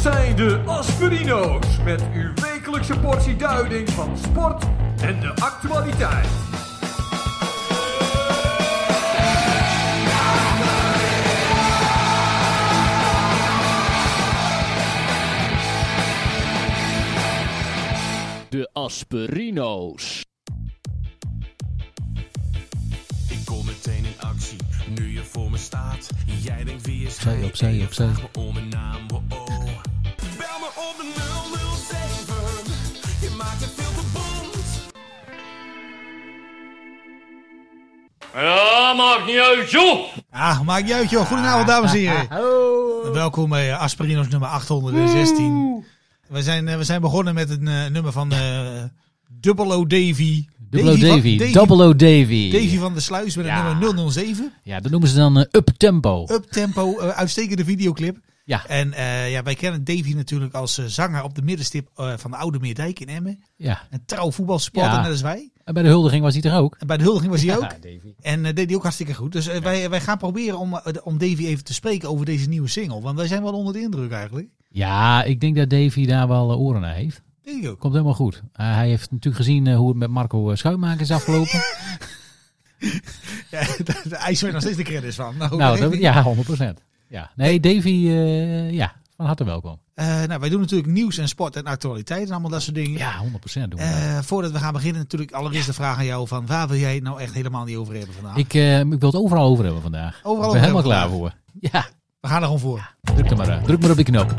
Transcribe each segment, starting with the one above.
zijn de Aspirino's met uw wekelijkse portie duiding van sport en de actualiteit. De Asperino's. Ik kom meteen in actie, nu je voor me staat. Jij denkt wie is Opzij, hij? opzij, En je opzij. vraagt me om een naam, oh oh. Bel me op de 007, je maakt het veel te bond. Ja, maakt niet uit, joh! Ah, maakt niet uit joh. Goedenavond dames en heren. Welkom bij eh, Aspirinos nummer 816. We zijn, eh, we zijn begonnen met een eh, nummer van eh Double O Davy. Double O van- Davy. Double O Davy. Davy van de Sluis met Ja. een nummer 007. Ja, dat noemen ze dan eh, uptempo. Uptempo, eh, uitstekende videoclip. Ja. En eh, ja, wij kennen Davy natuurlijk als eh, zanger op de middenstip eh, van de Oude Meerdijk in Emmen. Ja. Een trouw voetbalsupporter Ja. net als wij. En bij de huldiging was hij er ook. En bij de huldiging was hij ook. Ja, Davy. En eh, deed hij ook hartstikke goed. Dus eh, wij, wij gaan proberen om, eh, om Davy even te spreken over deze nieuwe single. Want wij zijn wel onder de indruk eigenlijk. Ja, ik denk dat Davy daar wel eh, oren naar heeft. Denk ik ook. Komt helemaal goed. Eh, hij heeft natuurlijk gezien eh, hoe het met Marco eh, Schuimaker is afgelopen. Oh, Ja, de- de- hij zweert nog steeds de credits van. Nou, nou, dat- dat, ja, 100%. Ja. Nee, Davy, eh, ja, van harte welkom. Eh, nou, wij doen natuurlijk nieuws en sport en actualiteit en allemaal dat soort dingen. Ja, 100% doen we dat. Eh, voordat we gaan beginnen natuurlijk allereerst de vraag aan jou van waar wil jij het nou echt helemaal niet over hebben vandaag? Ik, eh, ik wil het overal over hebben vandaag. Overal ik ben over helemaal klaar hebben voor. Ja, We gaan er gewoon voor. druk er maar, eh, druk maar op die knop.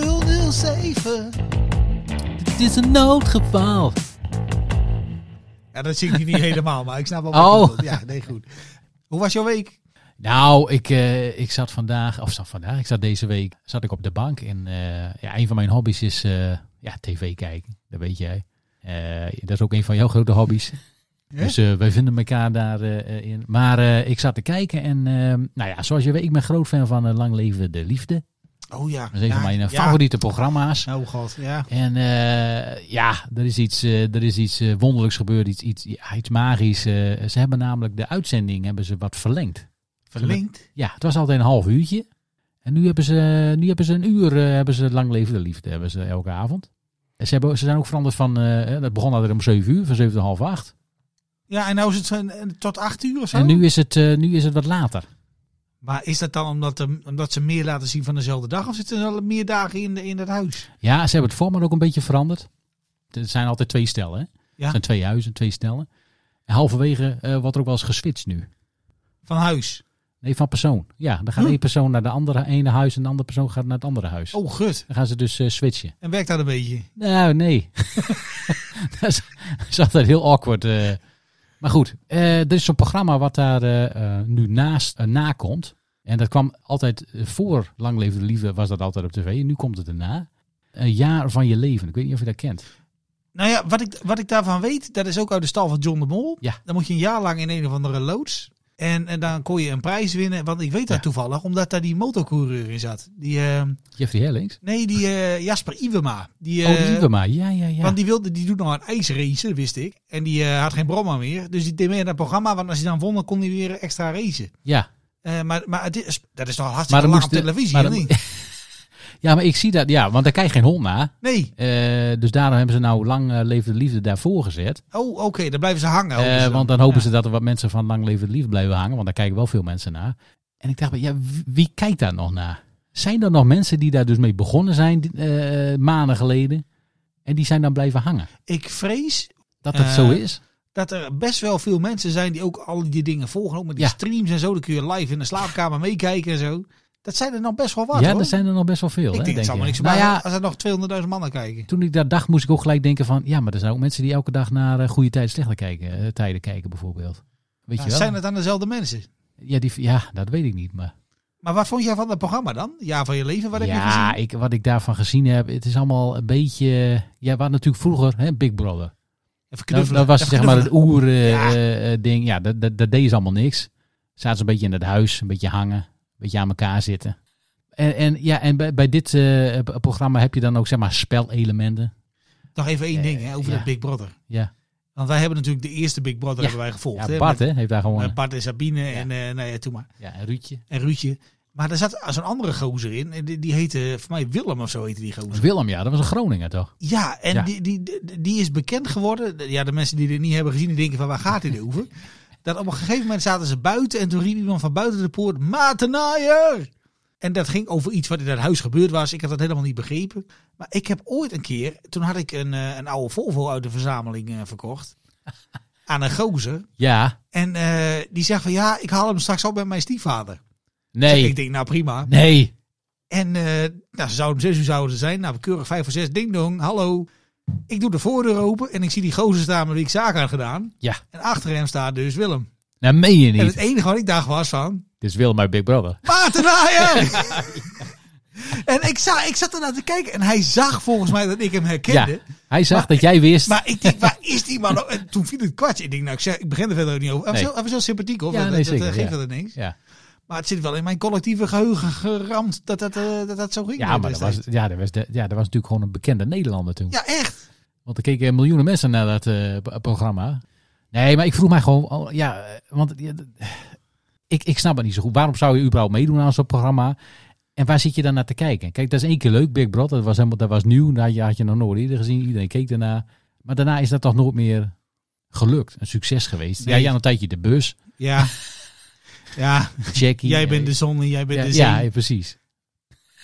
007. Het is een noodgeval. Ja, dat zie ik hier niet helemaal, maar ik snap wel Oh. wat je bedoelt. Ja, nee, goed. Hoe was jouw week? Nou, ik, eh, ik zat vandaag, of zat vandaag, ik zat deze week zat ik op de bank. En eh, ja, een van mijn hobby's is eh, ja, tv kijken, dat weet jij. Eh, dat is ook een van jouw grote hobby's. Ja? Dus eh, wij vinden elkaar daarin. in. maar eh, ik zat te kijken en eh, nou ja, zoals je weet, ik ben groot fan van eh, Lang Leven de Liefde. Oh ja. Dat is een ja, van mijn eh, ja. favoriete programma's. Oh god, ja. En eh, ja, er is iets, eh, er is iets eh, wonderlijks gebeurd, iets, iets, ja, iets magisch. eh. ze hebben namelijk de uitzending hebben ze wat verlengd. Verlinkt. Ja, het was altijd een half uurtje. En nu hebben ze, nu hebben ze een uur eh, hebben ze lang leven de liefde hebben ze elke avond. En ze, hebben, ze zijn ook veranderd van, eh, dat begon altijd om 7 uur, van 7 tot half 8. Ja, en nou is het eh, tot acht uur of zo? En nu is, het, eh, nu is het wat later. Maar is dat dan omdat, er- omdat ze meer laten zien van dezelfde dag? Of zitten er al meer dagen in, de, in dat huis? Ja, ze hebben het format ook een beetje veranderd. Het zijn altijd twee stellen. Hè? Het zijn twee huizen, twee stellen. En halverwege eh, wordt er ook wel eens geswitcht nu. Van huis. Nee, van persoon. Ja, dan gaat Huh? één persoon naar de andere ene huis en de andere persoon gaat naar het andere huis. Oh, gut. Dan gaan ze dus eh, switchen. En werkt dat een beetje? Nou, nee. dat is- is altijd heel awkward. eh. Maar goed, eh, er is zo'n programma wat daar eh, eh, nu naast, eh, na komt. En dat kwam altijd eh, voor Lang Leven de Liefde was dat altijd op tv. En nu komt het erna. Een jaar van je leven. Ik weet niet of je dat kent. Nou ja, wat ik, wat ik daarvan weet, dat is ook uit de stal van John de Mol. Ja. Dan moet je een jaar lang in een of andere loods. En, en dan kon je een prijs winnen. Want ik weet dat Ja. toevallig, omdat daar die motorcoureur in zat. Die, eh, Jeffrey Hellings. nee, die eh, Jasper Iwema. Die, oh, eh, die Iwema. Ja, ja, ja. Want die, wilde, die doet nog een ijsrace, wist ik. En die eh, had geen brommer meer. Dus die deed mee aan dat programma. Want als hij dan won, dan kon hij weer extra racen. ja. Eh, maar maar het is, dat is toch Maar hartstikke dan lang moest op de- televisie, maar of dan- niet? ja, maar ik zie dat. Ja, want daar krijg je geen hond naar. Nee. Eh, dus daarom hebben ze nou Lang eh, Leven de Liefde daarvoor gezet. Oh, oké. Dan blijven ze hangen. hopen Eh, ze Oh, dus dan. want dan hopen Ja. ze dat er wat mensen van Lang Leven de Liefde blijven hangen. Want daar kijken wel veel mensen naar. En ik dacht, ja, wie- wie kijkt daar nog naar? Zijn er nog mensen die daar dus mee begonnen zijn die- eh, maanden geleden? En die zijn dan blijven hangen? Ik vrees Dat dat Eh, zo is? dat er best wel veel mensen zijn die ook al die dingen volgen. Ook met die Ja. streams en zo. Dan kun je live in de slaapkamer meekijken en zo. Dat zijn er nog best wel wat, Ja, hoor. er zijn er nog best wel veel. ik hè, denk, het zal je. me niks nou nou ja, als er nog 200.000 mannen kijken. toen ik dat dacht, moest ik ook gelijk denken van... Ja, maar er zijn ook mensen die elke dag naar eh, goede tijden, slechte kijken, eh, tijden kijken bijvoorbeeld. Weet Ja, je wel? zijn het dan dezelfde mensen? ja, die, ja, dat weet ik niet, maar... Maar wat vond jij van dat programma dan? Ja, van je leven, wat heb je ja, gezien? ik, wat ik daarvan gezien heb, het is allemaal een beetje... Ja, we hadden natuurlijk vroeger hè, Big Brother. Even Dat, knuffelen. dat was even zeg maar het knuffelen. Ja. oer-ding. ja, dat, dat, dat deden ze allemaal niks. Zaten ze een beetje in het huis, een beetje hangen, een beetje aan elkaar zitten. En, en, ja, en bij, bij dit eh, p- programma heb je dan ook zeg maar spelelementen. Nog even één Eh, ding hè, over ja. dat Big Brother. Ja. Want wij hebben natuurlijk de eerste Big Brother Ja. hebben wij gevolgd. ja hè, Bart met- hè, heeft daar gewoon. met Bart en Sabine en eh nou ja, toen maar. Ja, een Ruudje. En Ruudje. Maar er zat zo'n andere gozer in. en Die, die heette, voor mij Willem of zo heette die gozer. Willem, ja, dat was een Groninger toch? Ja, en Ja. Die, die, die- die is bekend geworden. Ja, de mensen die dit niet hebben gezien, die denken van waar gaat dit over? Dat op een gegeven moment zaten ze buiten en toen riep iemand van buiten de poort, Matenaaier! En dat ging over iets wat in dat huis gebeurd was. Ik had dat helemaal niet begrepen. Maar ik heb ooit een keer, toen had ik een, eh, een oude Volvo uit de verzameling eh, verkocht. Aan een gozer. Ja. En eh, die zegt van ja, ik haal hem straks op bij mijn stiefvader. Nee. Ik denk nou prima. Nee. En eh, nou, ze zouden om zes uur zouden ze zijn. Nou, keurig vijf voor zes. Ding dong, hallo. Ik doe de voordeur open en ik zie die gozer staan met wie ik zaken had gedaan. Ja. En achter hem staat dus Willem. Nou, meen je En niet. het enige wat ik dacht was van... Dit is Willem uit Big Brother. Paternaaier! en ik, za ik zat ernaar te kijken en hij zag volgens mij dat ik hem herkende. Ja. Hij zag dat jij wist. Maar ik denk, waar is die man nou? En toen viel het kwartje. Ik denk, nou, ik, zeg, ik begin er verder ook niet over. Hij was, Nee. heel, hij was heel sympathiek, hoor. Ja, dat nee, dat, eh, zeker, geeft ja. verder niks. ja. Maar het zit wel in mijn collectieve geheugen geramd dat dat, eh, dat, dat zo ging. Ja, maar dat was, destijds. ja, dat, was de, ja, dat was natuurlijk gewoon een bekende Nederlander toen. Ja, echt. Want er keken miljoenen mensen naar dat eh, p- programma. Nee, maar ik vroeg mij gewoon... al- Ja, eh, want ja, d- ik, ik snap het niet zo goed. Waarom zou je überhaupt meedoen aan zo'n programma? En waar zit je dan naar te kijken? Kijk, dat is één keer leuk, Big Brother. Dat was, helemaal, dat was nieuw. Daar had je- had je nog nooit eerder gezien. Iedereen keek daarna. Maar daarna is dat toch nooit meer gelukt. Een succes geweest. Ja, Nee. jij had een tijdje de bus. Ja. Ja, Jackie. jij eh, bent de zon en jij bent ja, de zee. ja, Ja, ja, precies.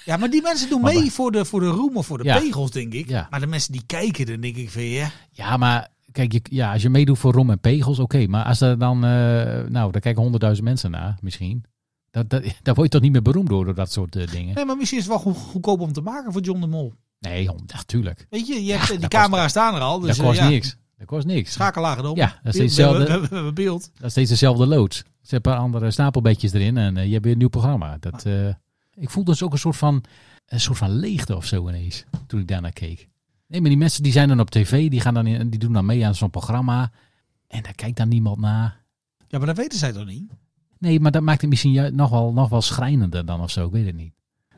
maar die mensen doen Maar- mee voor de, voor de roem of voor de Ja. pegels, denk ik. Ja. Maar de mensen die kijken, dan denk ik van ja. Ja, maar kijk, je, ja, als je meedoet voor Rom en Pegels, oké. maar als er dan, eh, nou, daar kijken honderdduizend mensen naar misschien. Dat, dat, daar word je toch niet meer beroemd door, door dat soort eh, dingen? Nee, maar misschien is het wel goed- goedkoop om te maken voor John de Mol. Nee, hond, ja, tuurlijk. Weet je, je hebt, eh, die dat camera's staan er al. Dus, dat eh, kost ja, niks. Dat kost niks. Schakelaar erom. Ja, dat is We- hetzelfde. We, we- we- we hebben beeld. Dat is steeds dezelfde loods. Ze hebben een paar andere stapelbedjes erin en eh, je hebt weer een nieuw programma. Dat, eh, ik voelde dus ook een soort, van, een soort van leegte of zo ineens, toen ik daarnaar keek. Nee, maar die mensen die zijn dan op tv, die, gaan dan in, die doen dan mee aan zo'n programma. En daar kijkt dan niemand naar. Ja, maar dat weten zij toch niet? Nee, maar dat maakt het misschien ju- nog wel, nog wel schrijnender dan of zo. Ik weet het niet.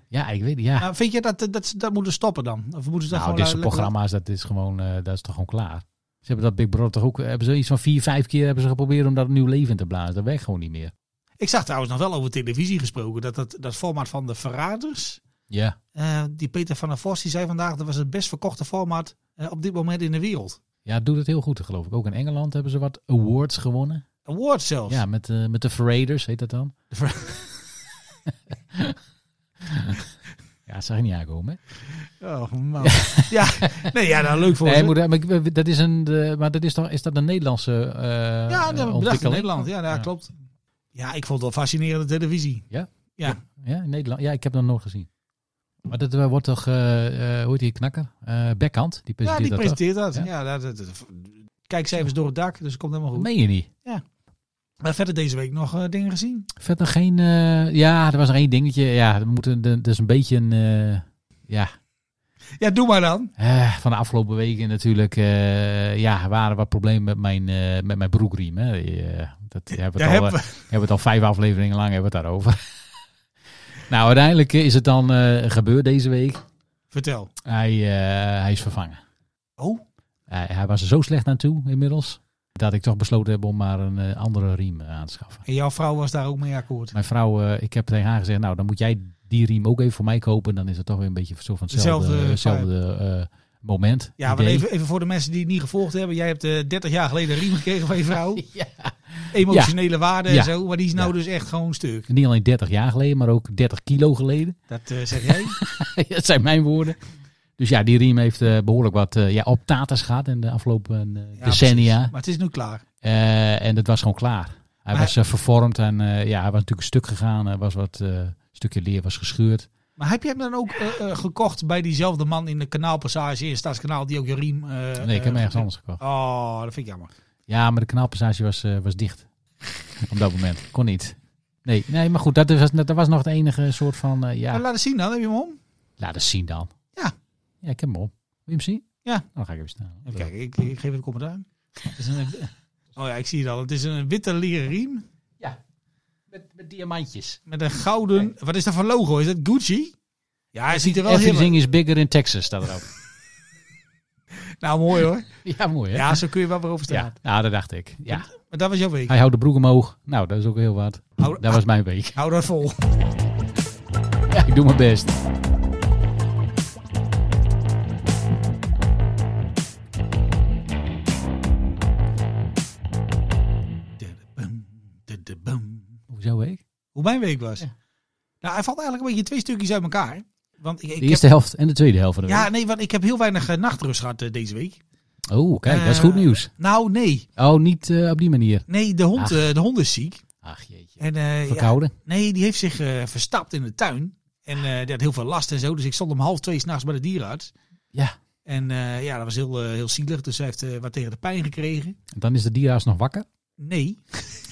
Ja, ik weet het. Ja. Maar vind je dat, dat, dat, ze dat moeten stoppen dan? Of moeten ze dat nou, gewoon dit soort eh, lekker- programma's, dat is gewoon, eh, dat is toch gewoon klaar. Ze hebben dat Big Brother toch ook, eh, hebben ze iets van vier, vijf keer hebben ze geprobeerd om dat nieuw leven in te blazen. Dat werkt gewoon niet meer. Ik zag trouwens nog wel over televisie gesproken. Dat, dat, dat format van de Verraders. Ja. eh, die Peter van der Vos die zei vandaag dat was het best verkochte format eh, op dit moment in de wereld. Ja, doet het heel goed, geloof ik. Ook in Engeland hebben ze wat awards gewonnen. Award zelfs. Ja, met, eh, met de Verraders heet dat dan. De Ver- Ja, dat zag je niet aankomen. hè? Oh man. ja, nee, ja, nou leuk voor Nee, ze. moet, maar ik- dat is een, de- maar dat is toch, is dat een Nederlandse eh ja, eh, dat hebben we bedacht in ontwikkeling? Nederland. Ja, ja, klopt. Ja, ik vond het wel fascinerende televisie. Ja? Ja. Ja, in Nederland. Ja, ik heb dat nooit gezien. Maar dat eh, wordt toch, eh eh hoe heet die knakker? Eh Bekkant, die Ja, presenteert die dat presenteert dat. Ja. Ja, dat, dat, dat- kijkcijfers door het dak, dus het komt helemaal toch? goed. Meen je niet? Maar verder deze week nog eh, dingen gezien. Verder geen, eh, ja, er was nog één dingetje. Ja, we moeten, de- dat is een beetje een, eh, ja, Ja, doe maar dan. eh, van de afgelopen weken natuurlijk. eh, ja, er waren wat problemen met mijn, eh, met mijn broekriem. Hè. Eh, dat hebben we Daar het al, hebben eh, hebben we het al vijf afleveringen lang hebben we het daarover. nou, uiteindelijk eh, is het dan eh, gebeurd deze week. Vertel. Hij, eh, hij is vervangen. Oh, Hij, hij was er zo slecht aan toe inmiddels. Dat ik toch besloten heb om maar een eh, andere riem eh, aan te schaffen. en jouw vrouw was daar ook mee akkoord. Mijn vrouw, eh, ik heb tegen haar gezegd, nou dan moet jij die riem ook even voor mij kopen. Dan is het toch weer een beetje zo van hetzelfde, Dezelfde hetzelfde eh, moment. Ja, maar idee. even, even voor de mensen die het niet gevolgd hebben. Jij hebt eh, 30 jaar geleden een riem gekregen van je vrouw. Emotionele waarde en Ja. zo. Maar die is nou Ja. dus echt gewoon stuk. Niet alleen 30 jaar geleden, maar ook 30 kilo geleden. Dat eh, zeg jij? dat zijn mijn woorden. Dus ja, die riem heeft eh, behoorlijk wat eh ja, op taters gehad in de afgelopen eh, Ja, decennia. precies. Maar het is nu klaar. Eh, en dat was gewoon klaar. Hij Maar- was eh, vervormd en eh, ja, hij was natuurlijk een stuk gegaan. Er was wat eh, een stukje leer was gescheurd. Maar heb je hem dan ook eh, eh, gekocht bij diezelfde man in de kanaalpassage in Staatskanaal die ook je riem... eh, Nee, ik heb hem eh, ergens anders gekocht. Oh, dat vind ik jammer. Ja, maar de kanaalpassage was, eh, was dicht. Op dat moment. Kon niet. Nee, nee maar goed, dat was, dat was nog het enige soort van. eh, Maar ja, Nou, laat eens zien dan, heb je hem om? laat eens zien dan. Ja. Ja, ik heb hem op. Wil je hem zien? Ja. Nou, Dan ga ik even staan. Even kijken, ik, ik geef het een commentaar. Het is een, oh ja, ik zie het al. Het is een witte leren riem Met, met diamantjes. met een gouden... Wat is dat voor logo? Is dat Gucci? Ja, hij ziet er wel heel... Everything is bigger in Texas, staat er ook. Nou, mooi hoor. ja, mooi hè? Ja, zo kun je wel weer over staan. ja. ja, dat dacht ik. Ja. Maar dat was jouw week. Hij houdt de broek omhoog. Nou, dat is ook heel wat. Hou- Dat was mijn week. Hou dat vol. ik doe mijn best. Dadabam, dadabam. Hoezo ik? Hoe mijn week was. Ja. Nou, hij valt eigenlijk een beetje twee stukjes uit elkaar. Want ik, ik De heb- eerste helft en de tweede helft van de ja, week. nee, want ik heb heel weinig eh, nachtrust gehad eh, deze week. Oh, kijk, dat is Eh, goed nieuws. Nou, nee. Oh, niet eh, op die manier. Nee, de hond, Ach. eh, de hond is ziek. Ach jeetje. En, eh, ja, Verkouden. nee, die heeft zich eh, verstapt in de tuin. En eh, die had heel veel last en zo. Dus ik stond om half twee s'nachts bij de dierenarts. Ja. En eh, ja, dat was heel, eh, heel zielig. Dus hij heeft eh, wat tegen de pijn gekregen. Dan is de dierarts nog wakker. Nee.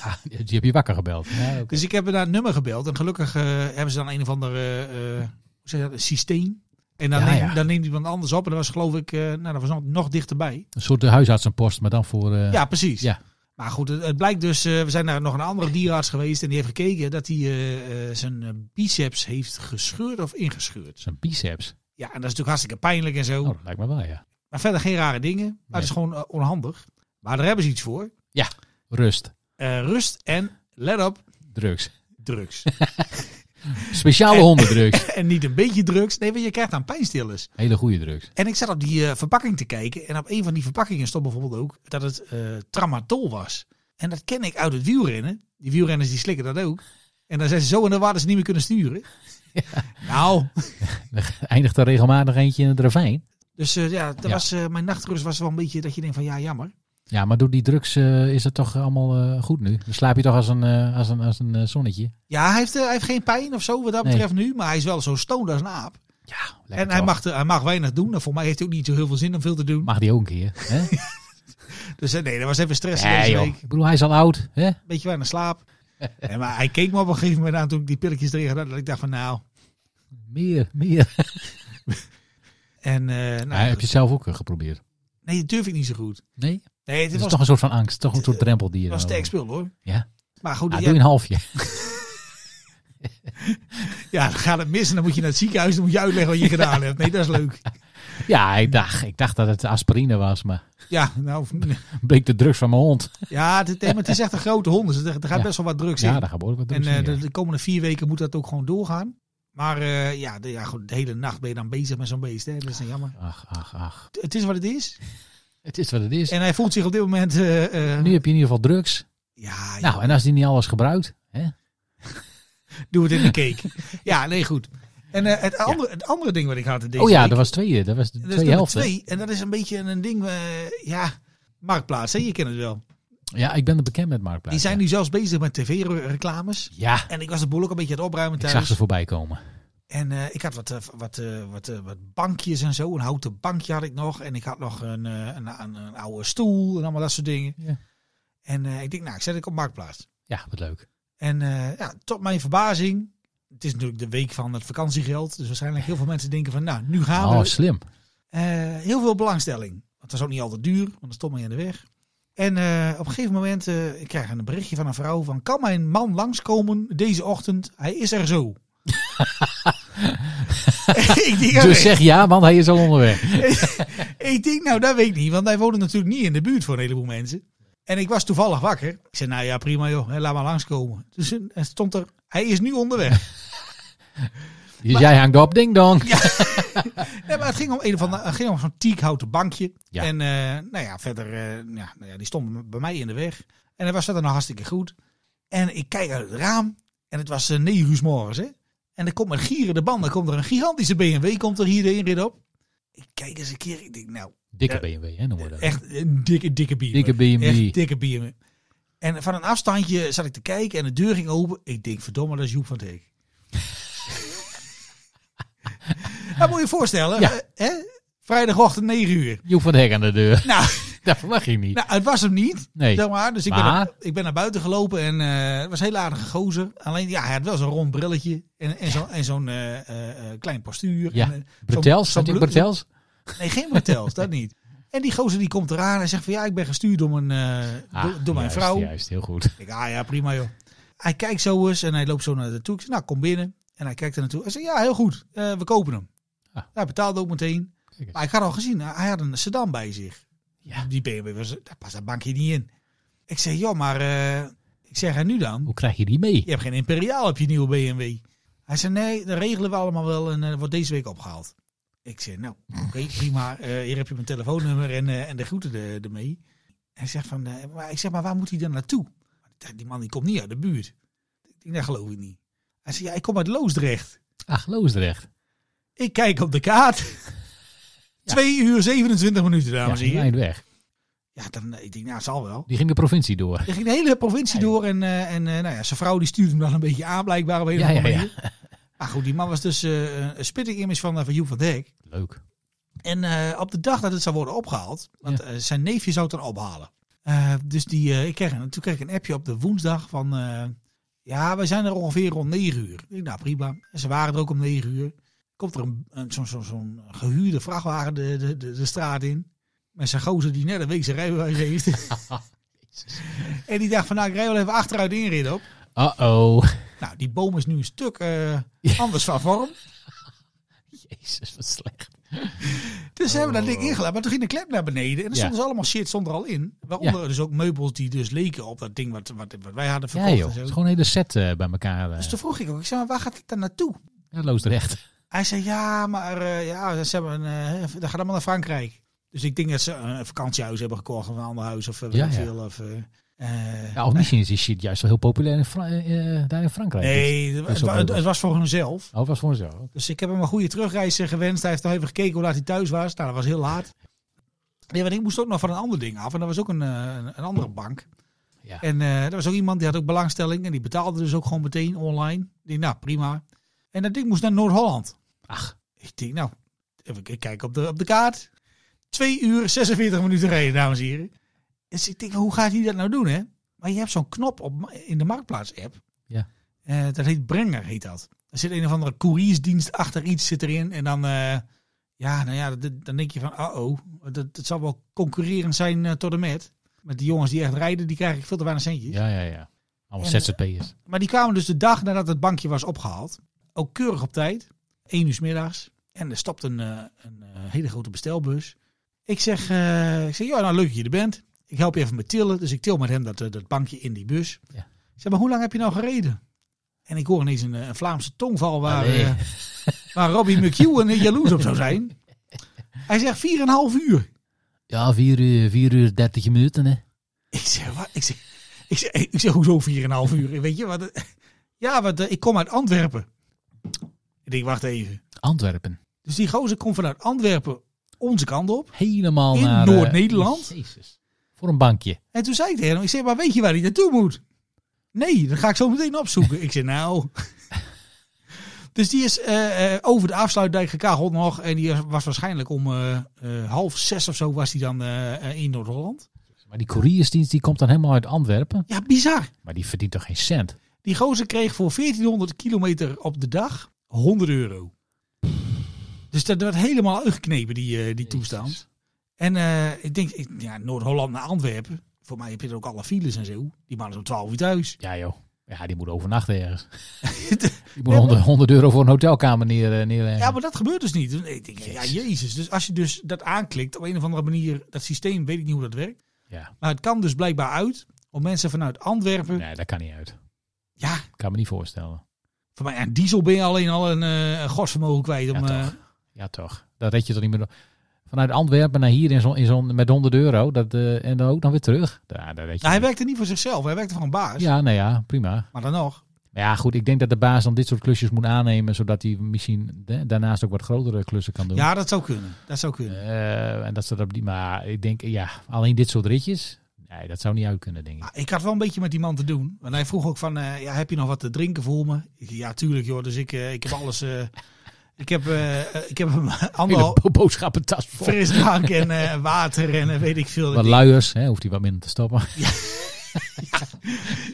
Ah, die heb je wakker gebeld. Ja, oké. Dus ik heb naar het nummer gebeld. En gelukkig eh, hebben ze dan een of ander eh, eh, hoe zeg je dat, een systeem. En dan, Ja, neemt, ja. dan neemt iemand anders op. En dat was geloof ik, eh, nou dat was nog, nog dichterbij. Een soort eh, huisartsenpost, maar dan voor... eh, ja, precies. ja. Maar goed, het, het blijkt dus, eh, we zijn naar nog een andere dierarts geweest. En die heeft gekeken dat hij eh, eh, zijn eh, biceps heeft gescheurd of ingescheurd. Zijn biceps. Ja, en dat is natuurlijk hartstikke pijnlijk en zo. Oh, dat lijkt me wel, ja. Maar verder geen rare dingen. Maar het is gewoon eh, onhandig. Maar daar hebben ze iets voor. Rust. Eh, rust en, let op, Drugs. drugs. Speciale hondendrugs. en niet een beetje drugs. Nee, want je krijgt dan pijnstillers. Hele goede drugs. En ik zat op die eh, verpakking te kijken. En op een van die verpakkingen stond bijvoorbeeld ook dat het eh, tramadol was. En dat ken ik uit het wielrennen. Die wielrenners die slikken dat ook. En dan zijn ze zo in de war dat ze niet meer kunnen sturen. Nou, Eindigt er regelmatig eentje in het ravijn. dus eh, ja, dat Ja. Was, eh, mijn nachtrust was wel een beetje dat je denkt van ja, jammer. Ja, maar door die drugs eh, is het toch allemaal eh, goed nu. Dan slaap je toch als een, eh, als een, als een eh, zonnetje. Ja, hij heeft, eh, hij heeft geen pijn of zo wat dat Nee. betreft nu. Maar hij is wel zo stoned als een aap. Ja, lekker en hij toch? mag, eh, hij mag weinig doen. En voor mij heeft hij ook niet zo heel veel zin om veel te doen. Mag die ook een keer. Hè? Dus eh, nee, dat was even stress Ja, deze joh. week. Ik bedoel, hij is al oud. Hè? Een beetje weinig slaap. en, maar hij keek me op een gegeven moment aan toen ik die pilletjes erin had. Dat ik dacht van nou... Meer, meer. En eh nou, Maar heb je het zelf ook eh, geprobeerd? nee, dat durf ik niet zo goed. Nee? Nee, het Het is was, toch een soort van angst. Toch een soort drempel die je was dan sterk over- spul hoor. Ja? Maar goed, Ah, ja, doe je een halfje. ja, dan gaat het mis en dan moet je naar het ziekenhuis. Dan moet je uitleggen wat je gedaan hebt. Nee, dat is leuk. Ja, ik dacht, ik dacht dat het aspirine was, maar Ja, nou, bleek de drugs van mijn hond. ja het, nee, maar het is echt een grote hond. Dus er, er gaat Ja. best wel wat drugs Ja, in. daar gaat behoorlijk wat En drugs eh, in, ja. de, de komende vier weken moet dat ook gewoon doorgaan. Maar eh, ja, de, ja goed, de hele nacht ben je dan bezig met zo'n beest. Hè? Dat is dan jammer. Ach, ach, ach. Het- Het is wat het is. Het is wat het is. En hij voelt zich op dit moment... eh, eh, nu heb je in ieder geval drugs. ja, Nou, en als die niet alles gebruikt, hè? doe het in de cake. ja, nee, goed. En eh, het, andere, het andere ding wat ik had deze Oh ja, week- dat was tweeën. Dat was de Dat is twee nummer helften. Dus twee. En dat is een beetje een ding, eh, ja, marktplaats. Hè? Je kent het wel. Ja, ik ben er bekend met Marktplaats. Die zijn ja. nu zelfs bezig met tv-reclames. Ja, En ik was de boel ook een beetje aan het opruimen ik thuis. zag ze voorbij komen. En eh, ik had wat, eh, wat, eh, wat, eh, wat bankjes en zo. Een houten bankje had ik nog. En ik had nog een, eh, een, een, een oude stoel en allemaal dat soort dingen. Ja. En eh, ik denk, nou, ik zet ik op marktplaats. Ja, wat leuk. En eh, ja, tot mijn verbazing. Het is natuurlijk de week van het vakantiegeld. Dus waarschijnlijk heel veel mensen denken van, nou, nu gaan we. Oh, slim. Eh, heel veel belangstelling. Want het was ook niet altijd duur, want dan stond mij in de weg. En eh, op een gegeven moment eh, ik krijg een berichtje van een vrouw van... kan mijn man langskomen deze ochtend? Hij is er zo. ik, denk, oké, Dus zeg ja, want hij is al onderweg. ik denk, nou dat weet ik niet. Want hij woonde natuurlijk niet in de buurt voor een heleboel mensen. En ik was toevallig wakker. Ik zei, nou ja, prima joh, hè, laat maar langskomen. Dus eh, er stond er, hij is nu onderweg. Dus jij hangt op, ding dong. nee, maar het ging om, een of ander- het ging om zo'n teakhouten bankje. Ja. En eh, nou ja, verder, eh, ja, nou ja, die stond bij mij in de weg. En dat was verder nog hartstikke goed. En ik kijk uit het raam en het was eh, negen uur 's morgens. Hè? En er komt met gierende banden, komt er een gigantische BMW komt er hier de inrit op. Ik kijk eens een keer, ik denk nou, Dikke Ja. BMW, hè, noemen we dat. echt een dikke, dikke BMW. Dikke BMW. Echt dikke BMW. En van een afstandje zat ik te kijken en de deur ging open. Ik denk, verdomme, dat is Joep van het Heek. dat moet je je voorstellen. Ja. eh, hè? Vrijdagochtend 9 uur. Joep van de Hek aan de deur. Nou, Dat verwacht je niet. nou, het was hem niet. Nee. Zeg maar. Dus ik, ben Maar? naar, ik ben naar buiten gelopen en eh, het was een heel aardige gozer. Alleen, ja, hij had wel zo'n rond brilletje en, en zo'n en zo'n eh, eh, eh, klein postuur. Ja. En, eh, zo'n- Bertels, zo'n zat je in blu- Bertels? Nee, geen Bertels, dat niet. En die gozer die komt eraan en zegt van ja, ik ben gestuurd door mijn, eh, Ah, door, door mijn juist, vrouw. Juist, heel goed. Ik, ah ja, prima joh. Hij kijkt zo eens en hij loopt zo naar de toe. Ik zeg, nou, kom binnen. En hij kijkt er naartoe. Hij zegt, ja, heel goed. eh, we kopen hem. Ah. Hij betaalde ook meteen. Kijk eens. Maar ik had al gezien, hij had een sedan bij zich. Ja. Die BMW, was, daar past dat bankje niet in. Ik zeg, joh, maar eh, ik zeg, en nu dan? Hoe krijg je die mee? Je hebt geen Imperiaal op je nieuwe BMW. Hij Hij zei, nee, dat regelen we allemaal wel en eh, wordt deze week opgehaald. Ik zei, nou, oké, prima. Eh, hier heb je mijn telefoonnummer en, eh, en de groeten er- ermee. Hij zegt van, eh, maar, ik zeg, maar waar moet hij dan naartoe? Ik dacht, Die man die komt niet uit de buurt. Ik denk, dat geloof ik niet. Hij zei, ja, ik kom uit Loosdrecht. Ach, Loosdrecht. Ik kijk op de kaart. 2 uur 27 minuten, Ja, dames en een heren. eind weg. Ja, dan, eh, ik denk, nou, het zal wel. Die ging de provincie door. Hij ging de hele provincie Ja, joh. door en, eh, en eh, nou ja, zijn vrouw die stuurde hem dan een beetje aan, blijkbaar op een Ja, of andere ja, ja. manier. Maar goed, die man was dus eh, een spitting image van, eh, van Joep van Dijk. Leuk. En eh, op de dag dat het zou worden opgehaald, want eh, zijn neefje zou het dan ophalen. Eh, dus die, eh, ik kreeg, een- toen kreeg ik een appje op de woensdag van, eh, ja, wij zijn er ongeveer rond 9 uur. Ik denk, nou prima. En ze waren er ook om 9 uur. Komt er een, een, zo'n zo'n- zo'n gehuurde vrachtwagen de, de, de, de straat in. Met zijn gozer die net een week zijn rijbewijs heeft. en die dacht van, nou ik rij wel even achteruit de inrit op. Uh-oh. Nou, die boom is nu een stuk eh, anders van vorm. Jezus, wat slecht. Dus ze hebben dat ding ingelaten. Maar toen ging de klep naar beneden. En er Oh. Ja. stond dus allemaal shit stond er al in. Waaronder dus ook meubels die dus leken op dat ding wat, wat, wat wij hadden Ja verkocht. joh, en het zo. is gewoon een hele set eh, bij elkaar. eh. Dus toen vroeg ik ook, ik zei, maar waar gaat het dan naartoe? Ja, Loosdrecht. Hij zei, ja, maar eh, ja, ze hebben, een, eh, dat gaat allemaal naar Frankrijk. Dus ik denk dat ze een vakantiehuis hebben gekocht of een ander huis of eh, weet Ja, ik ja. veel. Of, eh, eh, Ja, of misschien is die shit juist wel heel populair in Fra- eh, eh, daar in Frankrijk. nee, het, is ook wa- het- leuk. het was voor hemzelf. Oh, het was gewoon zo. Dus ik heb hem een goede terugreis eh, gewenst. Hij heeft nog even gekeken hoe laat hij thuis was. Nou, dat was heel laat. Nee, want ik moest ook nog van een ander ding af. En dat was ook een, eh, een, een andere bank. Ja. En eh er was ook iemand die had ook belangstelling. En die betaalde dus ook gewoon meteen online. Ik denk, nou, prima. En dat ding moest naar Noord-Holland. Ach, Ik denk, nou, even k- kijken op de, op de kaart. 2 uur 46 minuten rijden, dames en heren. Dus ik denk, hoe gaat hij dat nou doen, hè? Maar je hebt zo'n knop op, ma- in de Marktplaats-app. Ja. Eh, dat heet Brenger, heet dat. Er zit een of andere couriersdienst achter iets zit erin. En dan, eh, ja, nou ja, dat- dan denk je van, uh-oh. Dat, dat zal wel concurrerend zijn eh, tot en met. Met die jongens die echt rijden, die krijg ik veel te weinig centjes. ja, ja, ja. Allemaal En- ZZP'ers. Maar die kwamen dus de dag nadat het bankje was opgehaald. Ook keurig op tijd. 1 uur 's middags. En er stapt een, eh, een eh, hele grote bestelbus. Ik zeg, eh, ik zeg, ja, nou leuk dat je er bent. Ik help je even met tillen. Dus ik til met hem dat, eh, dat bankje in die bus. Ja. Ik zeg, maar hoe lang heb je nou gereden? En ik hoor ineens een, eh, een Vlaamse tongval waar, Allee. eh, waar Robbie McHugh en jaloers op zou zijn. Hij zegt 4,5 uur. Ja, 4 uur, 4 uur 30 minuten hè. Ik zeg, wat? Ik zeg, ik zeg, ik zeg hoezo 4,5 uur? Weet je wat? eh, Ja, want eh, ik kom uit Antwerpen. Ik denk, wacht even. Antwerpen. Dus die gozer komt vanuit Antwerpen onze kant op. Helemaal In naar... eh, Noord-Nederland? Jezus. Voor een bankje. En toen zei ik tegen hem, ik zeg, maar weet je waar hij naartoe moet? Nee, dat ga ik zo meteen opzoeken. ik zeg, nou... Dus die is eh, eh, over de afsluitdijk gekageld nog. En die was waarschijnlijk om eh, eh, half zes of zo was hij dan eh, eh, in Noord-Holland. Maar die couriersdienst die komt dan helemaal uit Antwerpen. Ja, bizar. Maar die verdient toch geen cent? Die gozer kreeg voor 1400 kilometer op de dag 100 euro. Dus dat werd helemaal uitgeknepen, die, eh, die toestand. En eh, ik denk, ik, ja, Noord-Holland naar Antwerpen. Voor mij heb je er ook alle files en zo. Die man is om 12 uur thuis. Ja joh. Ja, die moet overnachten ergens. Die moet maar- 100, 100 euro voor een hotelkamer neer, eh, neerleggen. Ja, maar dat gebeurt dus niet. Dus Ik denk, ja, jezus. Dus als je dus dat aanklikt op een of andere manier, dat systeem, weet ik niet hoe dat werkt. Ja. Maar het kan dus blijkbaar uit om mensen vanuit Antwerpen. Nee, dat kan niet uit. Ja, Kan me niet voorstellen. voor mij aan diesel ben je alleen al een eh, godsvermogen kwijt. Om, Ja, eh, toch. Ja, toch. Dat red je toch niet meer. door. Vanuit Antwerpen naar hier in zo'n in zo'n met 100 euro. Dat, eh, en dan ook dan weer terug. Ja, dat red je nou, hij niet. werkte niet voor zichzelf, hij werkte voor een baas. ja, nou ja, prima. Maar dan nog. Maar ja, goed. Ik denk dat de baas dan dit soort klusjes moet aannemen. Zodat hij misschien eh, daarnaast ook wat grotere klussen kan doen. Ja, dat zou kunnen. Dat zou kunnen. Eh, en dat ze dat op die. Maar ik denk, ja, alleen dit soort ritjes. Nee, dat zou niet uit kunnen, denk ik. Maar ik had wel een beetje met die man te doen. Want hij vroeg ook van, eh, ja, heb je nog wat te drinken voor me? Ik, ja, tuurlijk joh. Dus ik, eh, ik heb alles... eh, ik heb, eh, eh, ik heb een Hele anderhalf bo- boodschappentas vol. frisdrank en eh, water en eh, weet ik veel. Wat luiers, hè, hoeft hij wat minder te stappen.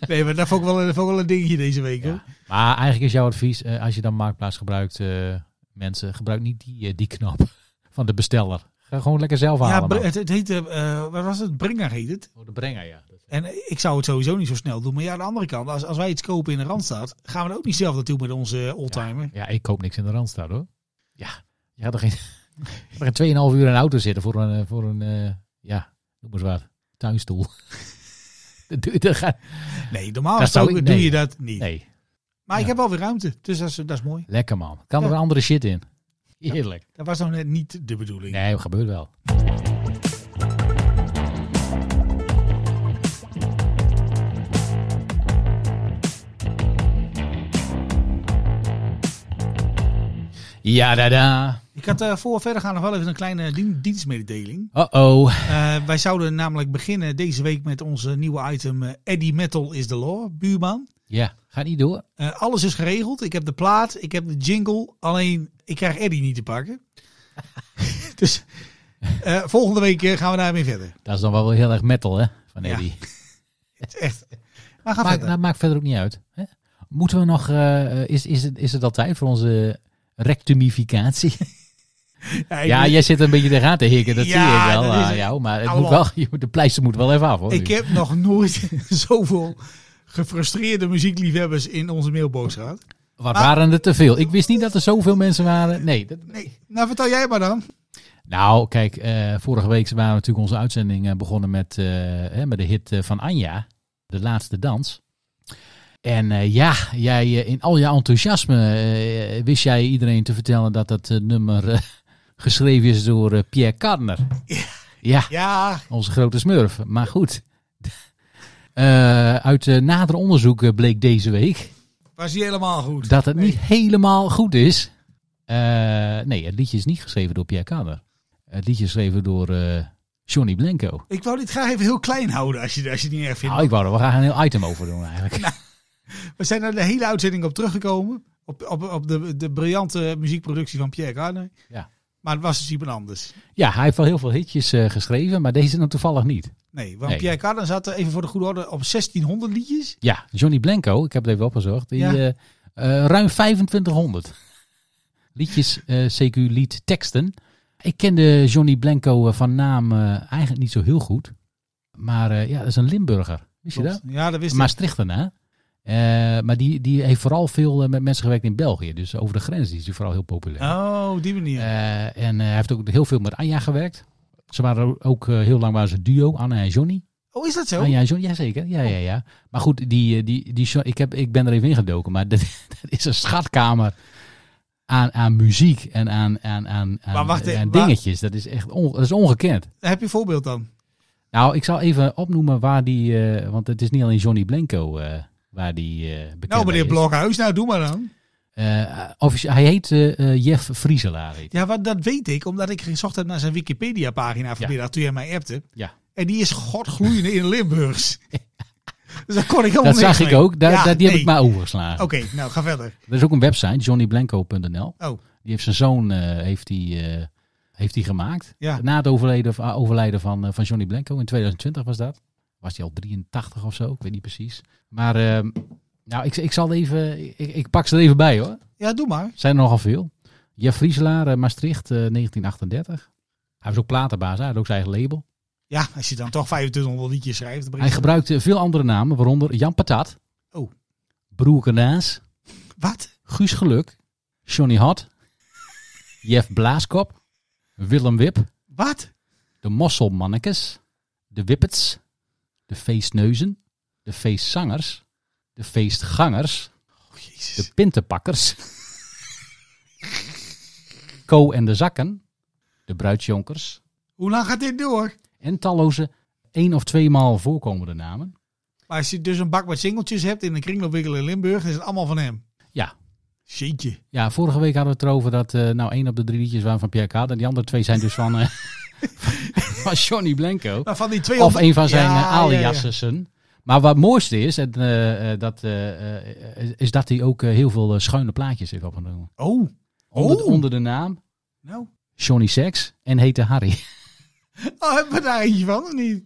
Nee, maar dat vond ik wel, een- dat vond ik wel een dingetje deze week hoor. Maar eigenlijk is jouw advies, eh, als je dan Marktplaats gebruikt, eh, mensen, gebruik niet die, eh, die knop van de besteller. Ga gewoon lekker zelf Ja, halen. Br- man. het, het heette, eh, wat was het? Bringer heet het. Oh, de brenger, ja. En eh, ik zou het sowieso niet zo snel doen. Maar ja, aan de andere kant, als, als wij iets kopen in de Randstad, gaan we er ook niet zelf naartoe met onze oldtimer. Ja, ik koop niks in de Randstad, hoor. Ja, je gaat er geen, je gaat er geen 2,5 uur in een auto zitten voor een, eh, voor een eh, ja, noem maar eens wat, tuinstoel. dat doe je, dat gaat, Nee, normaal Dat zou gesproken ik- doe nee. je dat niet. nee. Maar ik Ja. heb wel weer ruimte, dus dat is, dat is mooi. Lekker man. Kan er Ja. weer andere shit in. Heerlijk. Dat was nou net niet de bedoeling. Nee, dat gebeurt wel. Ja, da, da. Ik had eh, voor we verder gaan nog wel even een kleine dien- dienstmededeling. Oh, Uh-oh. Eh, wij zouden namelijk beginnen deze week met ons eh, nieuwe item eh, Eddie Metal is the Law, buurman. Ja, gaat niet door. Eh, alles is geregeld. Ik heb de plaat, ik heb de jingle. Alleen, ik krijg Eddie niet te pakken. dus eh, volgende week eh, gaan we daarmee verder. Dat is dan wel heel erg metal, hè? Van Ja. Eddie. Het is echt. Maar ga Maakt, verder. dat maakt verder ook niet uit. Hè? Moeten we nog... eh, is, is, het, is het al tijd voor onze rectumificatie? Ja, ik Ja, ben- jij zit een beetje tegenaan te hikken. Dat Ja, zie ik wel dat is aan het. jou. Maar het moet Allemaal. wel, je moet- de pleister moet wel even af, hoor. ik nu. heb nog nooit zoveel gefrustreerde muziekliefhebbers in onze mailbox gehad. Wat Ah. waren er te veel? Ik wist niet dat er zoveel mensen waren. Nee. dat- Nee, nou vertel jij maar dan. Nou, kijk, eh, vorige week waren we natuurlijk onze uitzending eh, begonnen met, eh, hè, met de hit eh, van Anja. De laatste dans. En eh, ja, jij eh, in al je enthousiasme eh, wist jij iedereen te vertellen dat dat eh, nummer eh, geschreven is door eh, Pierre Cardner. ja. Ja, Onze grote smurf. Maar goed. Eh, uit eh, nader onderzoek eh, bleek deze week was hij helemaal goed. dat het Nee. niet helemaal goed is. Eh, nee, het liedje is niet geschreven door Pierre Kader. Het liedje is geschreven door eh, Johnny Blanco. Ik wou dit graag even heel klein houden als je, als je het niet erg vindt. Nou, ik wou er wel graag een heel item over doen eigenlijk. Nou. We zijn er de hele uitzending op teruggekomen. Op, op, op de, de briljante muziekproductie van Pierre Carne. Ja. Maar het was dus iemand anders. Ja, hij heeft wel heel veel hitjes eh, geschreven, maar deze dan toevallig niet. Nee, want Nee. Pierre Cardin zat er even voor de goede orde op 1600 liedjes. Ja, Johnny Blanco, ik heb het even opgezocht, die, Ja. eh, eh, ruim 2500 liedjes, eh, CQ lied teksten. Ik kende Johnny Blanco eh, van naam eh, eigenlijk niet zo heel goed. Maar eh, ja, dat is een Limburger. Wist je dat? Ja, dat wist Een ik. Maastrichterna. Eh, maar die, die heeft vooral veel eh, met mensen gewerkt in België. Dus over de grens is hij vooral heel populair. Oh, op die manier. Eh, en eh, hij heeft ook heel veel met Anja gewerkt. Ze waren ook eh, heel lang waren ze duo, Anna en Johnny. oh, is dat zo? Ah, ja, John, jazeker. Ja, ja, ja. Maar goed, die, eh, die, die, John- ik, heb, ik ben er even ingedoken. Maar dat, dat is een schatkamer aan, aan muziek en aan, aan, aan, aan, Maar wacht even, aan waar- dingetjes. Dat is echt on- dat is ongekend. Heb je een voorbeeld dan? Nou, ik zal even opnoemen waar die... eh, want het is niet alleen Johnny Blanco eh, waar die eh bekend nou, meneer mee is. Blokhuis, nou doe maar dan. Eh, officie- hij heet eh, eh, Jeff Frieselaar. heet hij. Ja, wat, dat weet ik, omdat ik gezocht heb naar zijn Wikipedia-pagina vanmiddag toen jij mij appte. Ja. En die is godgloeiende in Limburgs. dus daar kon ik helemaal Dat niks zag ik mee. ook. Daar, Ja, daar- die heb nee. ik maar overgeslagen. Oké, nou ga verder. Er is ook een website, johnnyblanco.nl. Oh. Die heeft zijn zoon eh, heeft die, eh, heeft die gemaakt. Ja. Na het overleden, of- ah, overlijden van, eh, van Johnny Blanco in 2020 was dat. Was hij al 83 of zo, ik weet niet precies. Maar ehm, nou, ik, ik zal even, ik, ik pak ze er even bij hoor. Ja, doe maar. Zijn er nogal veel. Jeff Frieselaar, eh, Maastricht, eh, 1938. Hij was ook platenbaas, hij had ook zijn eigen label. Ja, als je dan toch 2500 liedjes schrijft. dan ben je- Hij gebruikte eh, veel andere namen, waaronder Jan Patat. Oh. Broer Kanaas. Wat? Guus Geluk, Johnny Hot, Jeff Blaaskop, Willem Wip, Wat? de Mosselmannekes, de Wippets, de Feestneuzen, de Feestzangers, de Feestgangers, Oh, jezus. de Pintenpakkers, Co en de Zakken, de Bruidsjonkers Hoe lang gaat dit door? en talloze één of tweemaal voorkomende namen. Maar als je dus een bak met singeltjes hebt in een kringloopwinkel in Limburg, dan is het allemaal van hem. Ja. Shitje. Ja, vorige week hadden we het erover dat eh, nou één op de drie liedjes waren van Pierre Kaat en die andere twee zijn dus van, eh, van Johnny Blanco. Maar Nou, van die Of 200... een van zijn eh, ja, ja. aliassen. Maar wat het mooiste is, en, eh, eh, dat, eh, eh, is dat hij ook eh, heel veel eh, schuine plaatjes heeft opgenomen. Oh, Onder, Oh. onder de naam nou. Johnny Sex en heette Harry. Oh, hebben we daar eentje van of niet?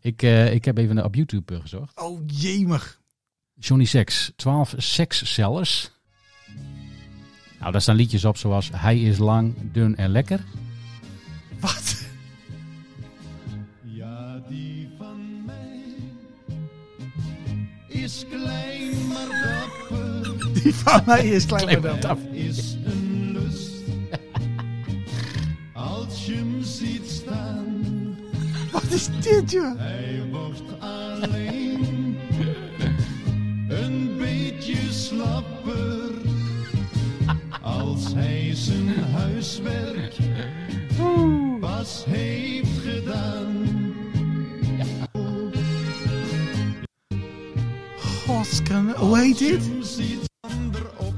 ik, eh, ik heb even op YouTube eh, gezocht. Oh, jemig. Johnny Sex, 12 sekscellers. Nou, daar staan liedjes op zoals Hij is lang, dun en lekker. Wat? Ja, die van mij is klein maar dapper, Die van mij is klein maar dan. is een lust. Als je hem ziet staan, Wat is dit, joh? hij wordt alleen een beetje slapper. huiswerk pas heeft gedaan. Godskan, hoe heet dit? Soms iets ander op.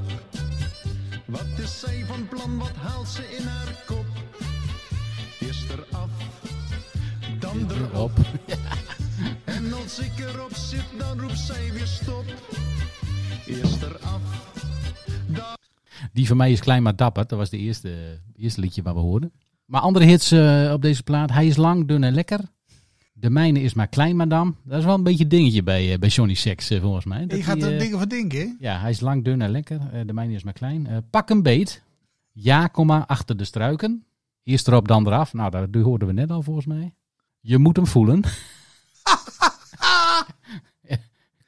Wat is zij van plan? Wat haalt ze in haar kop? Eerst eraf, dan erop. Op. En als ik erop zit, dan roept zij weer stop. Eerst eraf, Die van mij is klein maar dapper. Dat was de eerste, eerste liedje waar we hoorden. Maar andere hits eh, op deze plaat. Hij is lang, dun en lekker. De mijne is maar klein, madam. Dat is wel een beetje een dingetje bij, eh, bij Johnny Sex, eh, volgens mij. Dat Je gaat die, er eh, dingen van denken, hè? Ja, hij is lang, dun en lekker. Eh, de mijne is maar klein. Eh, pak een beet. Ja, komma, achter de struiken. Eerst erop, dan eraf. Nou, dat die hoorden we net al volgens mij. Je moet hem voelen.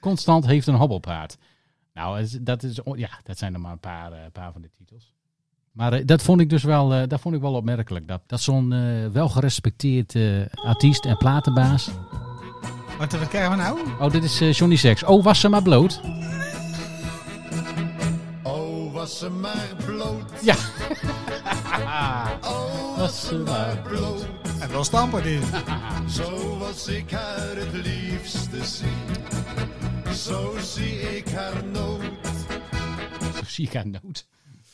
Constant heeft een hobbelpaard. Nou, het is- dat, is, on- ja, dat zijn er maar een paar, eh, paar van de titels. Maar eh, dat vond ik dus wel, eh, dat vond ik wel opmerkelijk. Dat, dat zo'n eh, welgerespecteerd eh, artiest en platenbaas. Wat, wat krijgen we nou? Oh, dit is eh, Johnny Sex. Oh, was ze maar bloot. oh was ze maar bloot. Ja. Oh was ze maar bloot. En wel stamper dit. Zo was ik haar het liefst te zien. Zo zie ik haar nooit. zie ik aan nood.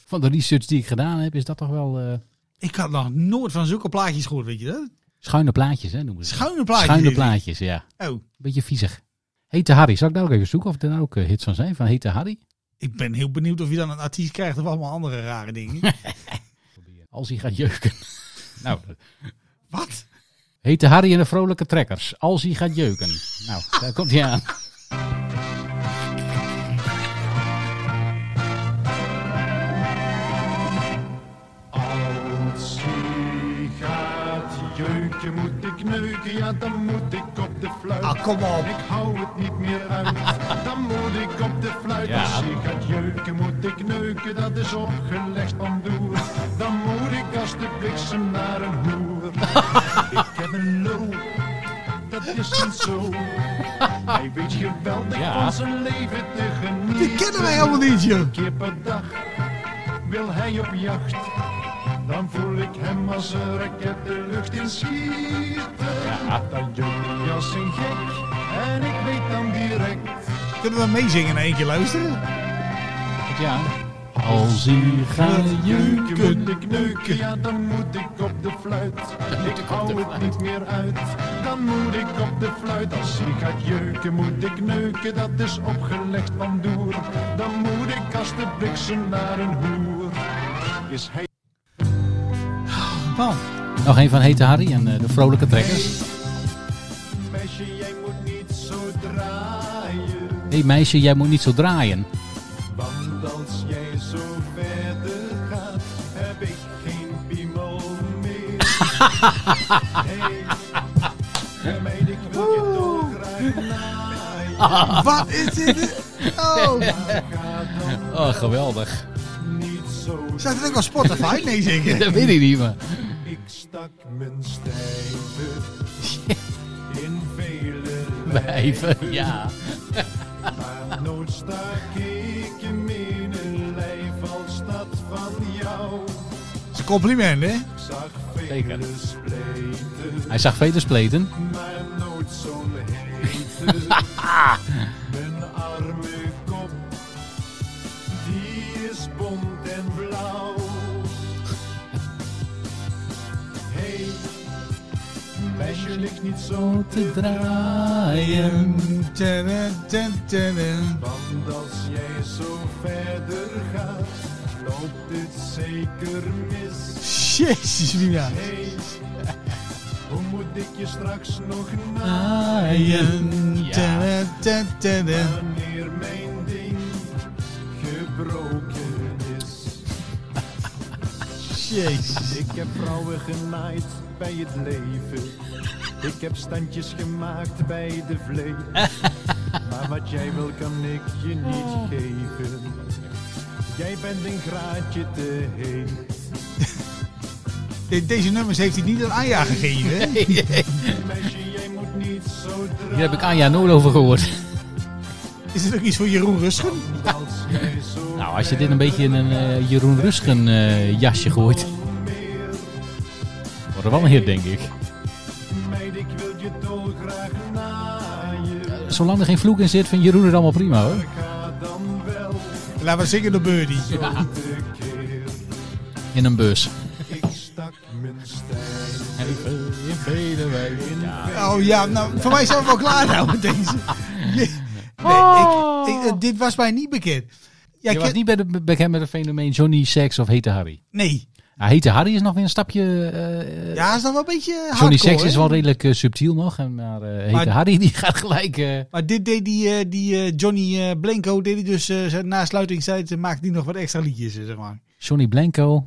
Van de research die ik gedaan heb, is dat toch wel eh, Ik had nog nooit van zulke plaatjes gehoord, weet je dat? schuine plaatjes, hè? Noemen ze dat. Schuine plaatjes. Schuine dit. plaatjes, ja. Oh, Beetje viezig. Hete Harry, zal ik daar ook even zoeken of er nou ook eh, hits van zijn van Hete Harry? ik ben heel benieuwd of je dan een artiest krijgt of allemaal andere rare dingen. Als hij gaat jeuken. nou, wat? Hete Harry en de vrolijke trekkers. Als hij gaat jeuken. Nou, daar komt hij aan. Als hij gaat jeuken, moet ik neuken, ja dan moet ik op de fluit. Ah, kom op. Ik hou het niet meer uit, dan moet ik op de fluit. Ja. Als ik gaat jeuken, moet ik neuken, dat is opgelegd van doer. Dan moet ik als de bliksem naar een hoer. ik heb een lul, dat is een zo. Hij weet geweldig Ja. van zijn leven te genieten. Die kennen wij helemaal niet, joh. Een keer per dag wil hij op jacht. Dan voel ik hem als een raket de lucht in schieten. Dan jeukt hij als een gek en ik weet dan direct. Kunnen we meezingen in één keer luisteren? Komt hij aan. Als hij gaat jeuken. Jeuken moet ik neuken, ja dan moet ik op de fluit. Ik hou het niet meer uit, dan moet ik op de fluit. Als hij gaat jeuken moet ik neuken, dat is opgelegd van doer. Dan moet ik als de bliksem naar een hoer. Is hij Man, Nog een van Hete Harry en eh, de vrolijke trekkers. Meisje, jij moet niet zo draaien, Hé hey, meisje, jij moet niet zo draaien. want als jij zo verder gaat, heb ik geen piemel meer. hey, meid, ik wil je toch graag naaien. wat is dit? Oh, Ga dan Oh, geweldig. niet zo, staat het ook op Spotify? Nee, zeker. Dat weet ik niet, maar... ik stak mijn stijve in vele Even, ja. Maar nooit stak ik hem in een lijf als dat van jou. Dat is een compliment, hè? Ik zag Zeker. vele spleten, Hij zag veterspleten. maar nooit zo'n hete. Mijn arme kop, die is bont en blauw. Hey, meisje ligt niet zo te draaien. Tadam, tadam, tadam. Want als jij zo verder gaat, loopt dit zeker mis. Jezus, Mina. Hey, hoe moet ik je straks nog na? Ah. Tadam, Ja. tadam, tadam. Wanneer mijn ding gebroken is. Jezus. Ik heb vrouwen genaaid bij het leven. Ik heb standjes gemaakt bij de vlees. Maar wat jij wil kan ik je Oh. niet geven. Jij bent een graadje te heet. De- deze nummers heeft hij niet aan Anja gegeven, hè? Meisje, jij moet niet zo draaien. Hier heb ik Anja nooit over gehoord. Is het ook iets voor Jeroen Rusgen? Als jij zo Nou, als je dit een beetje in een eh, Jeroen Rusgen eh, jasje gooit. mis, worden wel een hit, denk ik. Meid, ik wil je dolgraag naaien. Zolang er geen vloek in zit, vindt Jeroen het allemaal prima hoor. Ga dan wel Laten we zingen de birdie. de keer. In een bus. Ik stak mijn stijl. Oh ja, nou, voor mij zijn we wel klaar nou met deze. Nee, ik, ik- eh, dit was mij niet bekend. Je Ja, Oh. was ik, niet bij de, bekend met het fenomeen Johnny Sex of Hete Harry. nee. Nou, Hete Harry is nog weer een stapje... eh, eh, Ja, is dan wel een beetje hardcore. Johnny Sex hè? is wel redelijk eh, subtiel nog. en- Maar eh, Hete Maar- Harry die gaat gelijk... eh, Maar dit deed die, eh, die eh, Johnny eh, Blanco, deed hij dus eh, zijn- na sluitingstijd, eh, maakte hij nog wat extra liedjes, eh, zeg maar. Johnny Blanco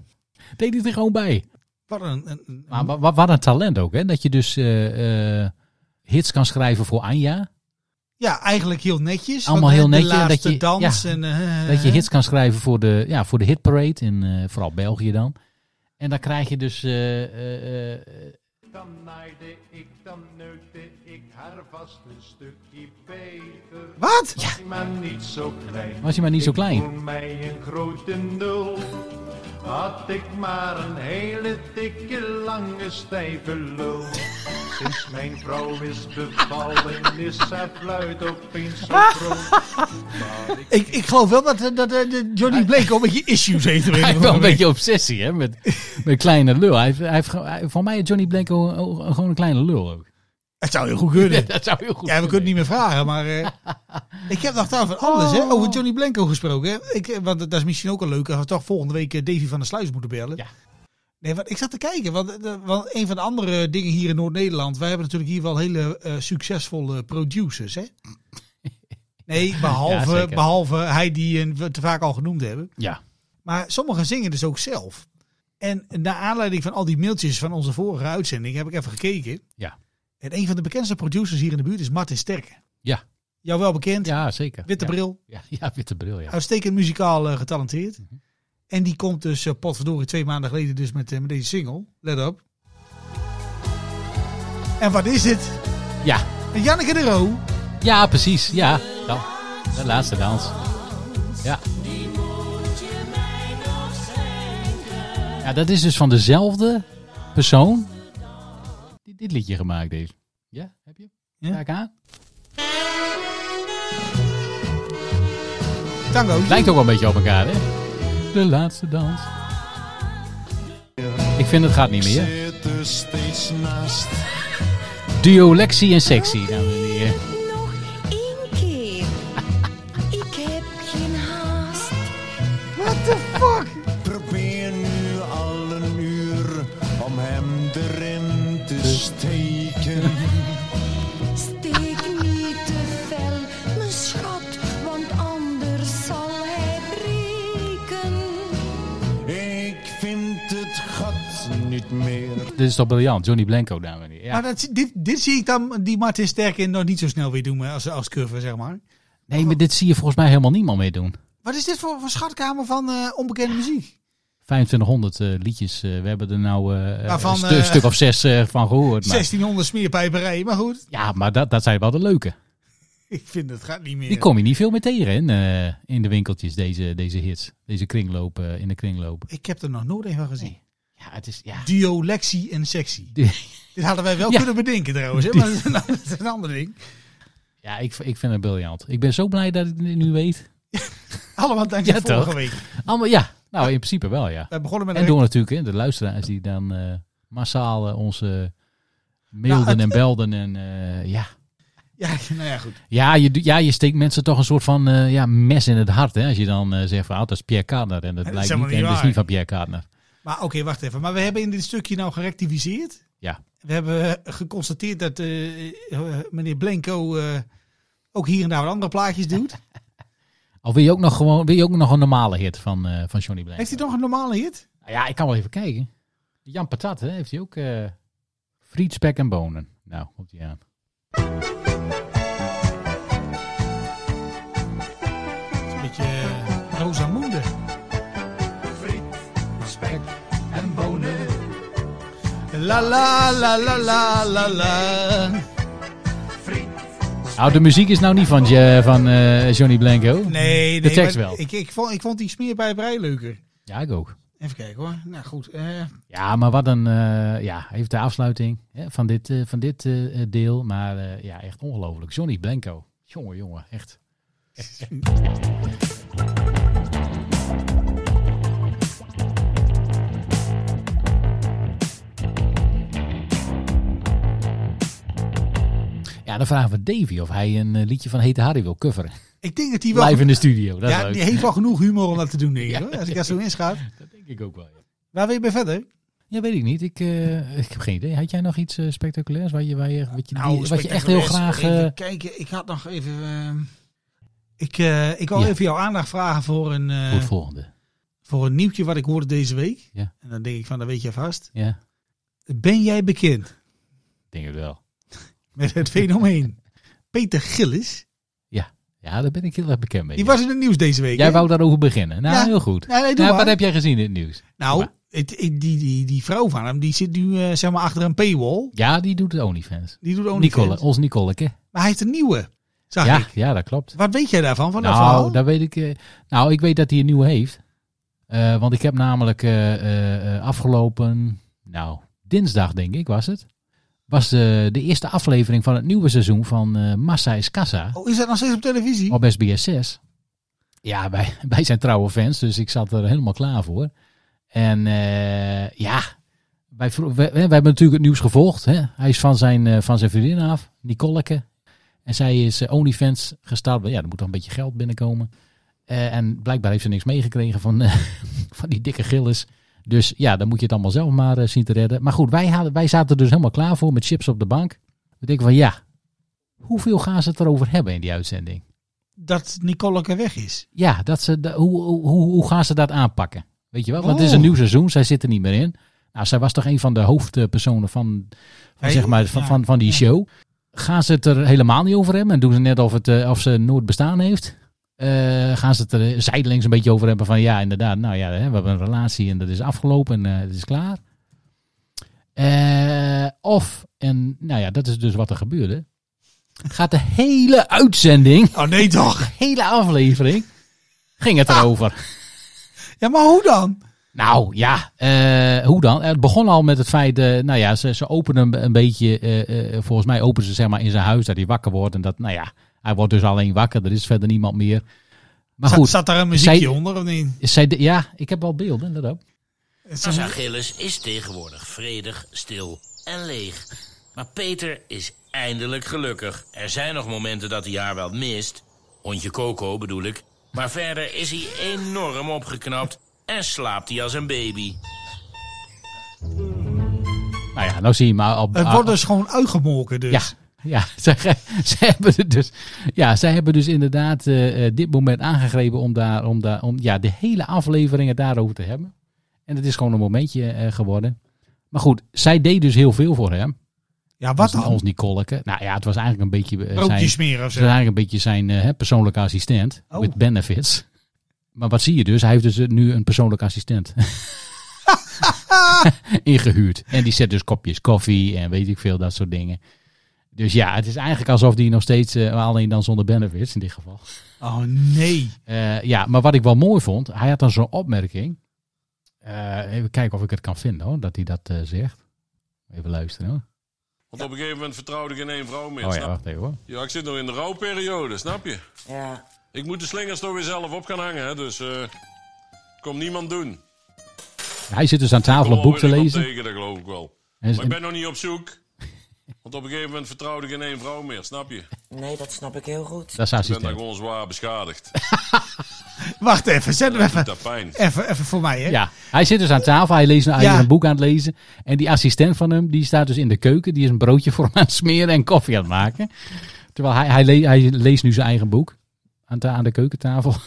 deed hij er gewoon bij. Wat een... een- een- Maar wa- wa- wat een talent ook, hè? Dat je dus eh, eh, hits kan schrijven voor Anja. ja, eigenlijk heel netjes. Allemaal Want, eh, heel netjes, De dat laatste je- dans. ja, en, eh, Dat je hits kan schrijven voor de, ja, voor de hitparade, in eh, vooral België dan. En dan krijg je dus... eh, eh, eh, Dan naaide ik, dan neukte ik haar vast een stukje beter. Wat? Was hij maar niet zo klein. Was hij maar niet zo klein. Ik voel mij een grote nul. Had ik maar een hele dikke, lange, stijve lul. Sinds mijn vrouw is bevallen, is haar fluit opeens zo groot. Ik, ik geloof wel dat, eh, dat eh, de Johnny Blanco een beetje issues heeft. op een Hij of heeft wel een andere manier. beetje obsessie, hè? Met, met kleine lul. Hij heeft, hij heeft, ge- hij- voor mij is Johnny Blanco o- gewoon een kleine lul ook. Het zou heel goed kunnen. Dat zou heel goed Ja, we kunnen het niet meer vragen, maar... eh, ik heb nog trouwens van alles, hè, Oh. over Johnny Blanco gesproken. Hè. Ik, eh, want dat is misschien ook een leuke, als we toch volgende week eh, Davy van der Sluis moeten bellen. Ja. Nee, want ik zat te kijken, want, eh, want een van de andere dingen hier in Noord-Nederland... Wij hebben natuurlijk hier wel hele eh, succesvolle producers, hè? Nee, behalve, Ja, zeker. behalve hij die eh, we te vaak al genoemd hebben. Ja. Maar sommigen zingen dus ook zelf. En naar aanleiding van al die mailtjes van onze vorige uitzending heb ik even gekeken. Ja. En een van de bekendste producers hier in de buurt is Martin Sterke. Ja. Jou wel bekend, ja, zeker. witte Ja. bril, Ja, ja, witte bril, ja. uitstekend muzikaal eh, getalenteerd. Mhm. En die komt dus, eh, potverdorie, twee maanden geleden dus met, eh, met deze single. Let op. En wat is dit? Ja, Janneke de Roo. ja precies. Ja, nou, de laatste dans. Ja. Ja, dat is dus van dezelfde persoon die dit liedje gemaakt heeft. Ja, heb je? Ja. Ga ik aan? Tango. Lijkt ook wel een beetje op elkaar, hè? De laatste dans. Ik vind het gaat niet meer. Zit er steeds naast. Duo Lexi en Sexy. dames en heren. Nog één keer. Ik heb geen haast. Probeer nu al een uur om hem erin te steken. Steek niet te fel, mijn schat, want anders zal hij breken. Ik vind het gat niet meer. Dit is toch briljant. Johnny Blanco, dames en heren. Ja. Maar dat, dit, dit zie ik dan die Martin Sterke nog niet zo snel weer doen eh, als, als cover, zeg maar. Nee, maar dit zie je volgens mij helemaal niemand meer doen. Wat is dit voor, voor schatkamer van eh, onbekende muziek? 2500 eh, liedjes. eh, we hebben er nou eh, Waarvan, een stu- eh, stuk of zes eh, van gehoord. Maar, 1600 smeerpijperij, maar goed. Ja, maar dat, dat zijn wel de leuke. Ik vind het gaat niet meer. Die kom je niet veel meer tegen in, eh, in de winkeltjes, deze, deze hits. Deze kringloop, eh, in de kringloop. Ik heb er nog nooit een van gezien. Nee. Ja, het is... Ja. Duo Lexi en Sexy. Dit hadden wij wel Ja. kunnen bedenken trouwens, hè? maar dat is een- dat is een ander ding. Ja, ik, ik vind het briljant. Ik ben zo blij dat ik het nu weet. Allemaal dankzij Ja, vorige toch? week. Allemaal, ja, nou in principe wel, ja. Wij begonnen met En een- door natuurlijk hè, de luisteraars die dan eh, massaal eh, ons eh, mailden Nou, het- en belden. En, eh, ja. Ja, nou ja, goed. Ja, je, doet- ja, je steekt mensen toch een soort van eh, ja, mes in het hart. Hè, als je dan eh, zegt van ah, dat is Pierre Cardner. En dat, is blijkt niet, helemaal en niet dat is waar. niet van Pierre Cardner. Maar oké, wacht even. Maar we hebben in dit stukje nou gerectificeerd. Ja. We hebben eh, geconstateerd dat eh, eh, meneer Blanco eh, ook hier en daar wat andere plaatjes doet. Al wil je ook nog, gewoon, wil je ook nog een normale hit van, eh, van Johnny Blanco? Heeft hij nog een normale hit? Nou Ja, ik kan wel even kijken. Jan Patat, hè, heeft hij ook eh friet, spek en bonen. Nou, komt hij aan. Dat is een beetje eh, Rosamunde. En bonen, La la la la la la la. Nou, de muziek is nou niet van, Je- van eh, Johnny Blanco. Nee, nee. De tekst maar wel. Ik, ik, vond, ik vond die smeerpijperij leuker. Ja, ik ook. Even kijken hoor. Nou goed. eh, Ja, maar wat een. eh, ja, even de afsluiting hè, van dit, eh, van dit eh, eh, deel. Maar eh, ja, echt ongelooflijk. Johnny Blanco. Jongen, jongen, echt. Ja, dan vragen we Davy of hij een eh, liedje van Hete Harry wil coveren. ik denk dat die wel... Live in de studio. Dat is ja, leuk. die heeft wel genoeg humor om dat te doen, denk ik, hoor. Als ik daar zo in schaap. Dat denk ik ook wel. Ja, Waar wil je bij verder? Ja, weet ik niet. Ik, eh, ik heb geen idee. Had jij nog iets eh, spectaculairs waar je, waar je, wat je, Nou, die- wat je echt heel graag... eh, Even kijken, ik had nog even... eh, ik, eh, ik wil Ja. even jouw aandacht vragen voor een, eh, voor het volgende. voor een nieuwtje wat ik hoorde deze week. Ja. En dan denk ik van, dat weet je vast. Ja, ik Ben jij bekend denk het wel. met het fenomeen Peter Gillis? Ja, daar ben ik heel erg bekend mee. Die ja. was in het nieuws deze week. Jij hè? wou daarover beginnen. Nou, Ja. heel goed. Nee, nee, doe nou, maar. wat heb jij gezien in het nieuws? Nou, Maar- het, het- die, die, die vrouw van hem, die zit nu eh, zeg maar achter een paywall. Ja, die doet het OnlyFans. Die doet ook niet Nicole, ons Nicoleke. Maar hij heeft een nieuwe, zag ja, Ah, ik. ja, dat klopt. Wat weet jij daarvan, van dat verhaal? nou, dat weet ik, eh, nou, ik weet dat hij een nieuwe heeft. Eh, want ik heb namelijk eh, eh, eh, afgelopen, nou, dinsdag denk ik was het. Was de, de eerste aflevering van het nieuwe seizoen van eh, Massa is Kassa. Oh, is dat nog steeds op televisie? op SBS 6. Ja, wij, wij zijn trouwe fans, dus ik zat er helemaal klaar voor. En eh, ja, wij, vro- wij, wij hebben natuurlijk het nieuws gevolgd. Hè? Hij is van zijn, eh, van zijn vriendin af, Nicoleke. En zij is eh, OnlyFans gestart. Ja, er moet toch een beetje geld binnenkomen. Eh, en blijkbaar heeft ze niks meegekregen van, eh, van die dikke gillis. Dus ja, dan moet je het allemaal zelf maar eh, zien te redden. Maar goed, wij, hadden, wij zaten er dus helemaal klaar voor met chips op de bank. We denken van ja, hoeveel gaan ze het erover hebben in die uitzending? Dat Nicoleke weg is. Ja, dat ze, da- hoe, hoe, hoe- hoe gaan ze dat aanpakken? Weet je wel? Want het is Oh. een nieuw seizoen, zij zit er niet meer in. Nou, zij was toch een van de hoofdpersonen van, van, Hey, zeg maar, van, ja, van, van die ja. show. Gaan ze het er helemaal niet over hebben en doen ze net of, het, eh, of ze nooit bestaan heeft? Eh, gaan ze het er zijdelings een beetje over hebben van ja, inderdaad, nou ja, hè, we hebben een relatie en dat is afgelopen en eh, het is klaar. Eh, of, en nou ja, dat is dus wat er gebeurde. Gaat de hele uitzending Oh nee toch? hele aflevering ging het erover. Ja, maar hoe dan? Nou ja, eh, hoe dan? Het begon al met het feit, eh, nou ja, ze, ze openen een, een beetje, eh, eh, volgens mij openen ze zeg maar in zijn huis dat hij wakker wordt. En dat, nou ja, hij wordt dus alleen wakker, er is verder niemand meer. Maar Zat, goed, zat daar een muziekje Zij- onder of niet? zij, de- ja, ik heb wel beelden, dat ook. Asa Gillis is tegenwoordig vredig, stil en leeg. Maar Peter is eindelijk gelukkig. Er zijn nog momenten dat hij haar wel mist. Hondje Coco bedoel ik. Maar verder is hij enorm opgeknapt en slaapt hij als een baby. Nou ja, nou zie je maar al. Het al- wordt dus gewoon uitgemolken dus. Ja, ja ze, ge- ze hebben het dus, ja, zij hebben dus inderdaad eh, eh, dit moment aangegrepen om, daar, om, daar, om ja, de hele afleveringen daarover te hebben. En het is gewoon een momentje eh, geworden. Maar goed, zij deed dus heel veel voor hem. Ja, wat Ons- Ons dan? Nicoleke. Nou ja, het was eigenlijk een beetje eh, Broodjes zijn, smeren of het zo. was eigenlijk een beetje zijn eh, hè, persoonlijke assistent. Oh. Met benefits. Maar wat zie je dus? Hij heeft dus eh, nu een persoonlijke assistent. Ingehuurd. En die zet dus kopjes koffie en weet ik veel, dat soort dingen. Dus ja, het is eigenlijk alsof die nog steeds, eh, alleen dan zonder benefits in dit geval. Oh nee. Eh, ja, maar wat ik wel mooi vond, hij had dan zo'n opmerking. Eh, even kijken of ik het kan vinden hoor, dat hij dat eh, zegt. Even luisteren hoor. Want op een gegeven moment vertrouwde ik in één vrouw meer. Oh ja, snap? wacht even hoor. ja, ik zit nog in de rouwperiode, snap je? Ja. Ik moet de slingers toch weer zelf op gaan hangen, hè? Dus eh komt niemand doen. Hij zit dus aan tafel een Kom boek te alweer iemand lezen. tegen, dat geloof ik wel. En, Maar ik ben nog niet op zoek. Want op een gegeven moment vertrouwde ik in één vrouw meer, snap je? Ik Nee, dat snap ik heel goed. dat is ben daar assistent. gewoon zwaar beschadigd. Wacht even, zet hem Dat even, doet pijn. even, even voor mij hè. Ja, hij zit dus aan tafel, hij, leest, hij Ja. is een boek aan het lezen. En die assistent van hem, die staat dus in de keuken. Die is een broodje voor hem aan het smeren en koffie aan het maken. Terwijl hij, hij, le- hij leest nu zijn eigen boek aan, ta- aan de keukentafel.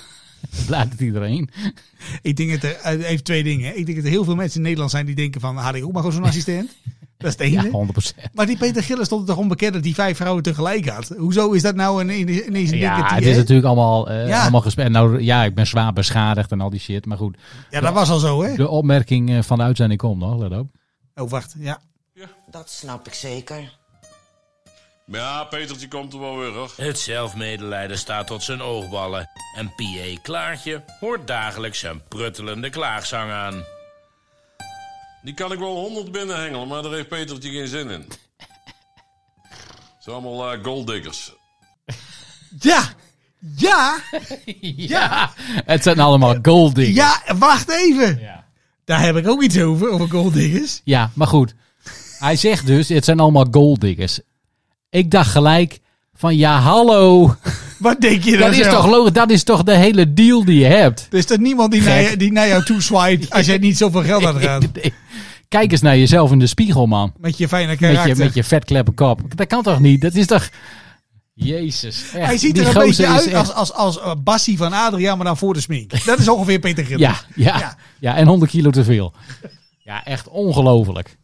Dat Laat het iedereen. Ik denk dat er, eh, even twee dingen. Ik denk dat er heel veel mensen in Nederland zijn die denken van, had ik ook maar gewoon zo'n assistent? Dat is het Ja, ene. 100%. maar die Peter Gillis stond er toch onbekend dat hij vijf vrouwen tegelijk had. Hoezo is dat nou een, ineens een ding dat Ja, die, het is hè? natuurlijk allemaal, eh Ja. allemaal gesprek. Nou ja, ik ben zwaar beschadigd en al die shit. Maar goed, ja, dat was al zo hè. de opmerking eh, van de uitzending komt nog, let op. Oh wacht, ja. Dat snap ik zeker. Maar ja, Petertje komt er wel weer, hoor. Het zelfmedelijden staat tot zijn oogballen. En P.A. Klaartje hoort dagelijks zijn pruttelende klaagzang aan. Die kan ik wel honderd binnenhengelen, maar daar heeft Petertje geen zin in. Het zijn allemaal eh, golddiggers. Ja! Ja! Ja, het zijn allemaal golddiggers. Ja, wacht even! Ja. Daar heb ik ook iets over, over golddiggers. Ja, maar goed. Hij zegt dus, het zijn allemaal golddiggers. Ik dacht gelijk van, ja hallo, Wat denk je dan dat is, zelf? toch, logisch, dat is toch de hele deal die je hebt? Er is toch niemand die, naar, je- die naar jou toe zwaait als jij niet zoveel geld aan gaat? Kijk eens naar jezelf in de spiegel, man. Met je fijne Met karakter. je, met je vetkleppenkop. Dat kan toch niet? Dat is toch... Jezus, echt. Hij ziet Die er een gozer beetje is uit echt- als, als, als eh, Bassie van Adriaan, maar dan voor de smink. Dat is ongeveer Peter Gillis. Ja, ja, Ja. ja. en 100 kilo te veel. Ja, echt ongelooflijk.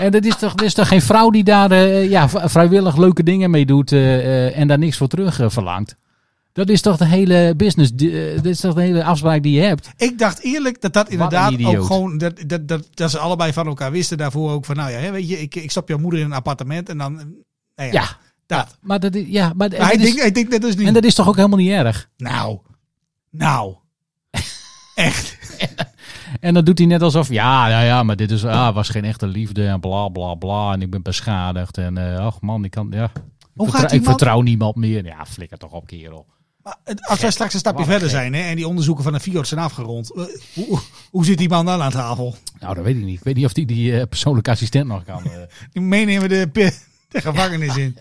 En dat is toch, dat is toch geen vrouw die daar eh, ja, v- vrijwillig leuke dingen mee doet eh, eh, en daar niks voor terug eh, verlangt? Dat is toch de hele business, die- eh, dat is toch de hele afspraak die je hebt? Ik dacht eerlijk dat dat inderdaad idioot. ook gewoon... Dat, dat, dat, dat ze allebei van elkaar wisten daarvoor ook van... Nou ja, hè, weet je, ik, ik stap jouw moeder in een appartement en dan... eh, Nou ja, Ja, dat. maar dat is, ja, maar, en Maar hij, dat is- denkt, hij denkt dat dus niet. en dat is toch ook helemaal niet erg? Nou, nou. Echt. En dan doet hij net alsof, ja, ja, ja, maar dit is, ah, was geen echte liefde en bla, bla, bla. En ik ben beschadigd en, eh, ach man, ik kan, ja. Ik, Hoe vertrouw, gaat die ik man... vertrouw niemand meer. Ja, flikker toch op, kerel. Maar het- Als wij straks een stapje Wat verder gek. zijn hè, en die onderzoeken van de Fiat zijn afgerond... eh, Hoe, hoe- hoe zit die man dan aan tafel? Nou, dat weet ik niet. Ik weet niet of die die eh, persoonlijke assistent nog kan. eh. Die meenemen de, pe- de gevangenis in.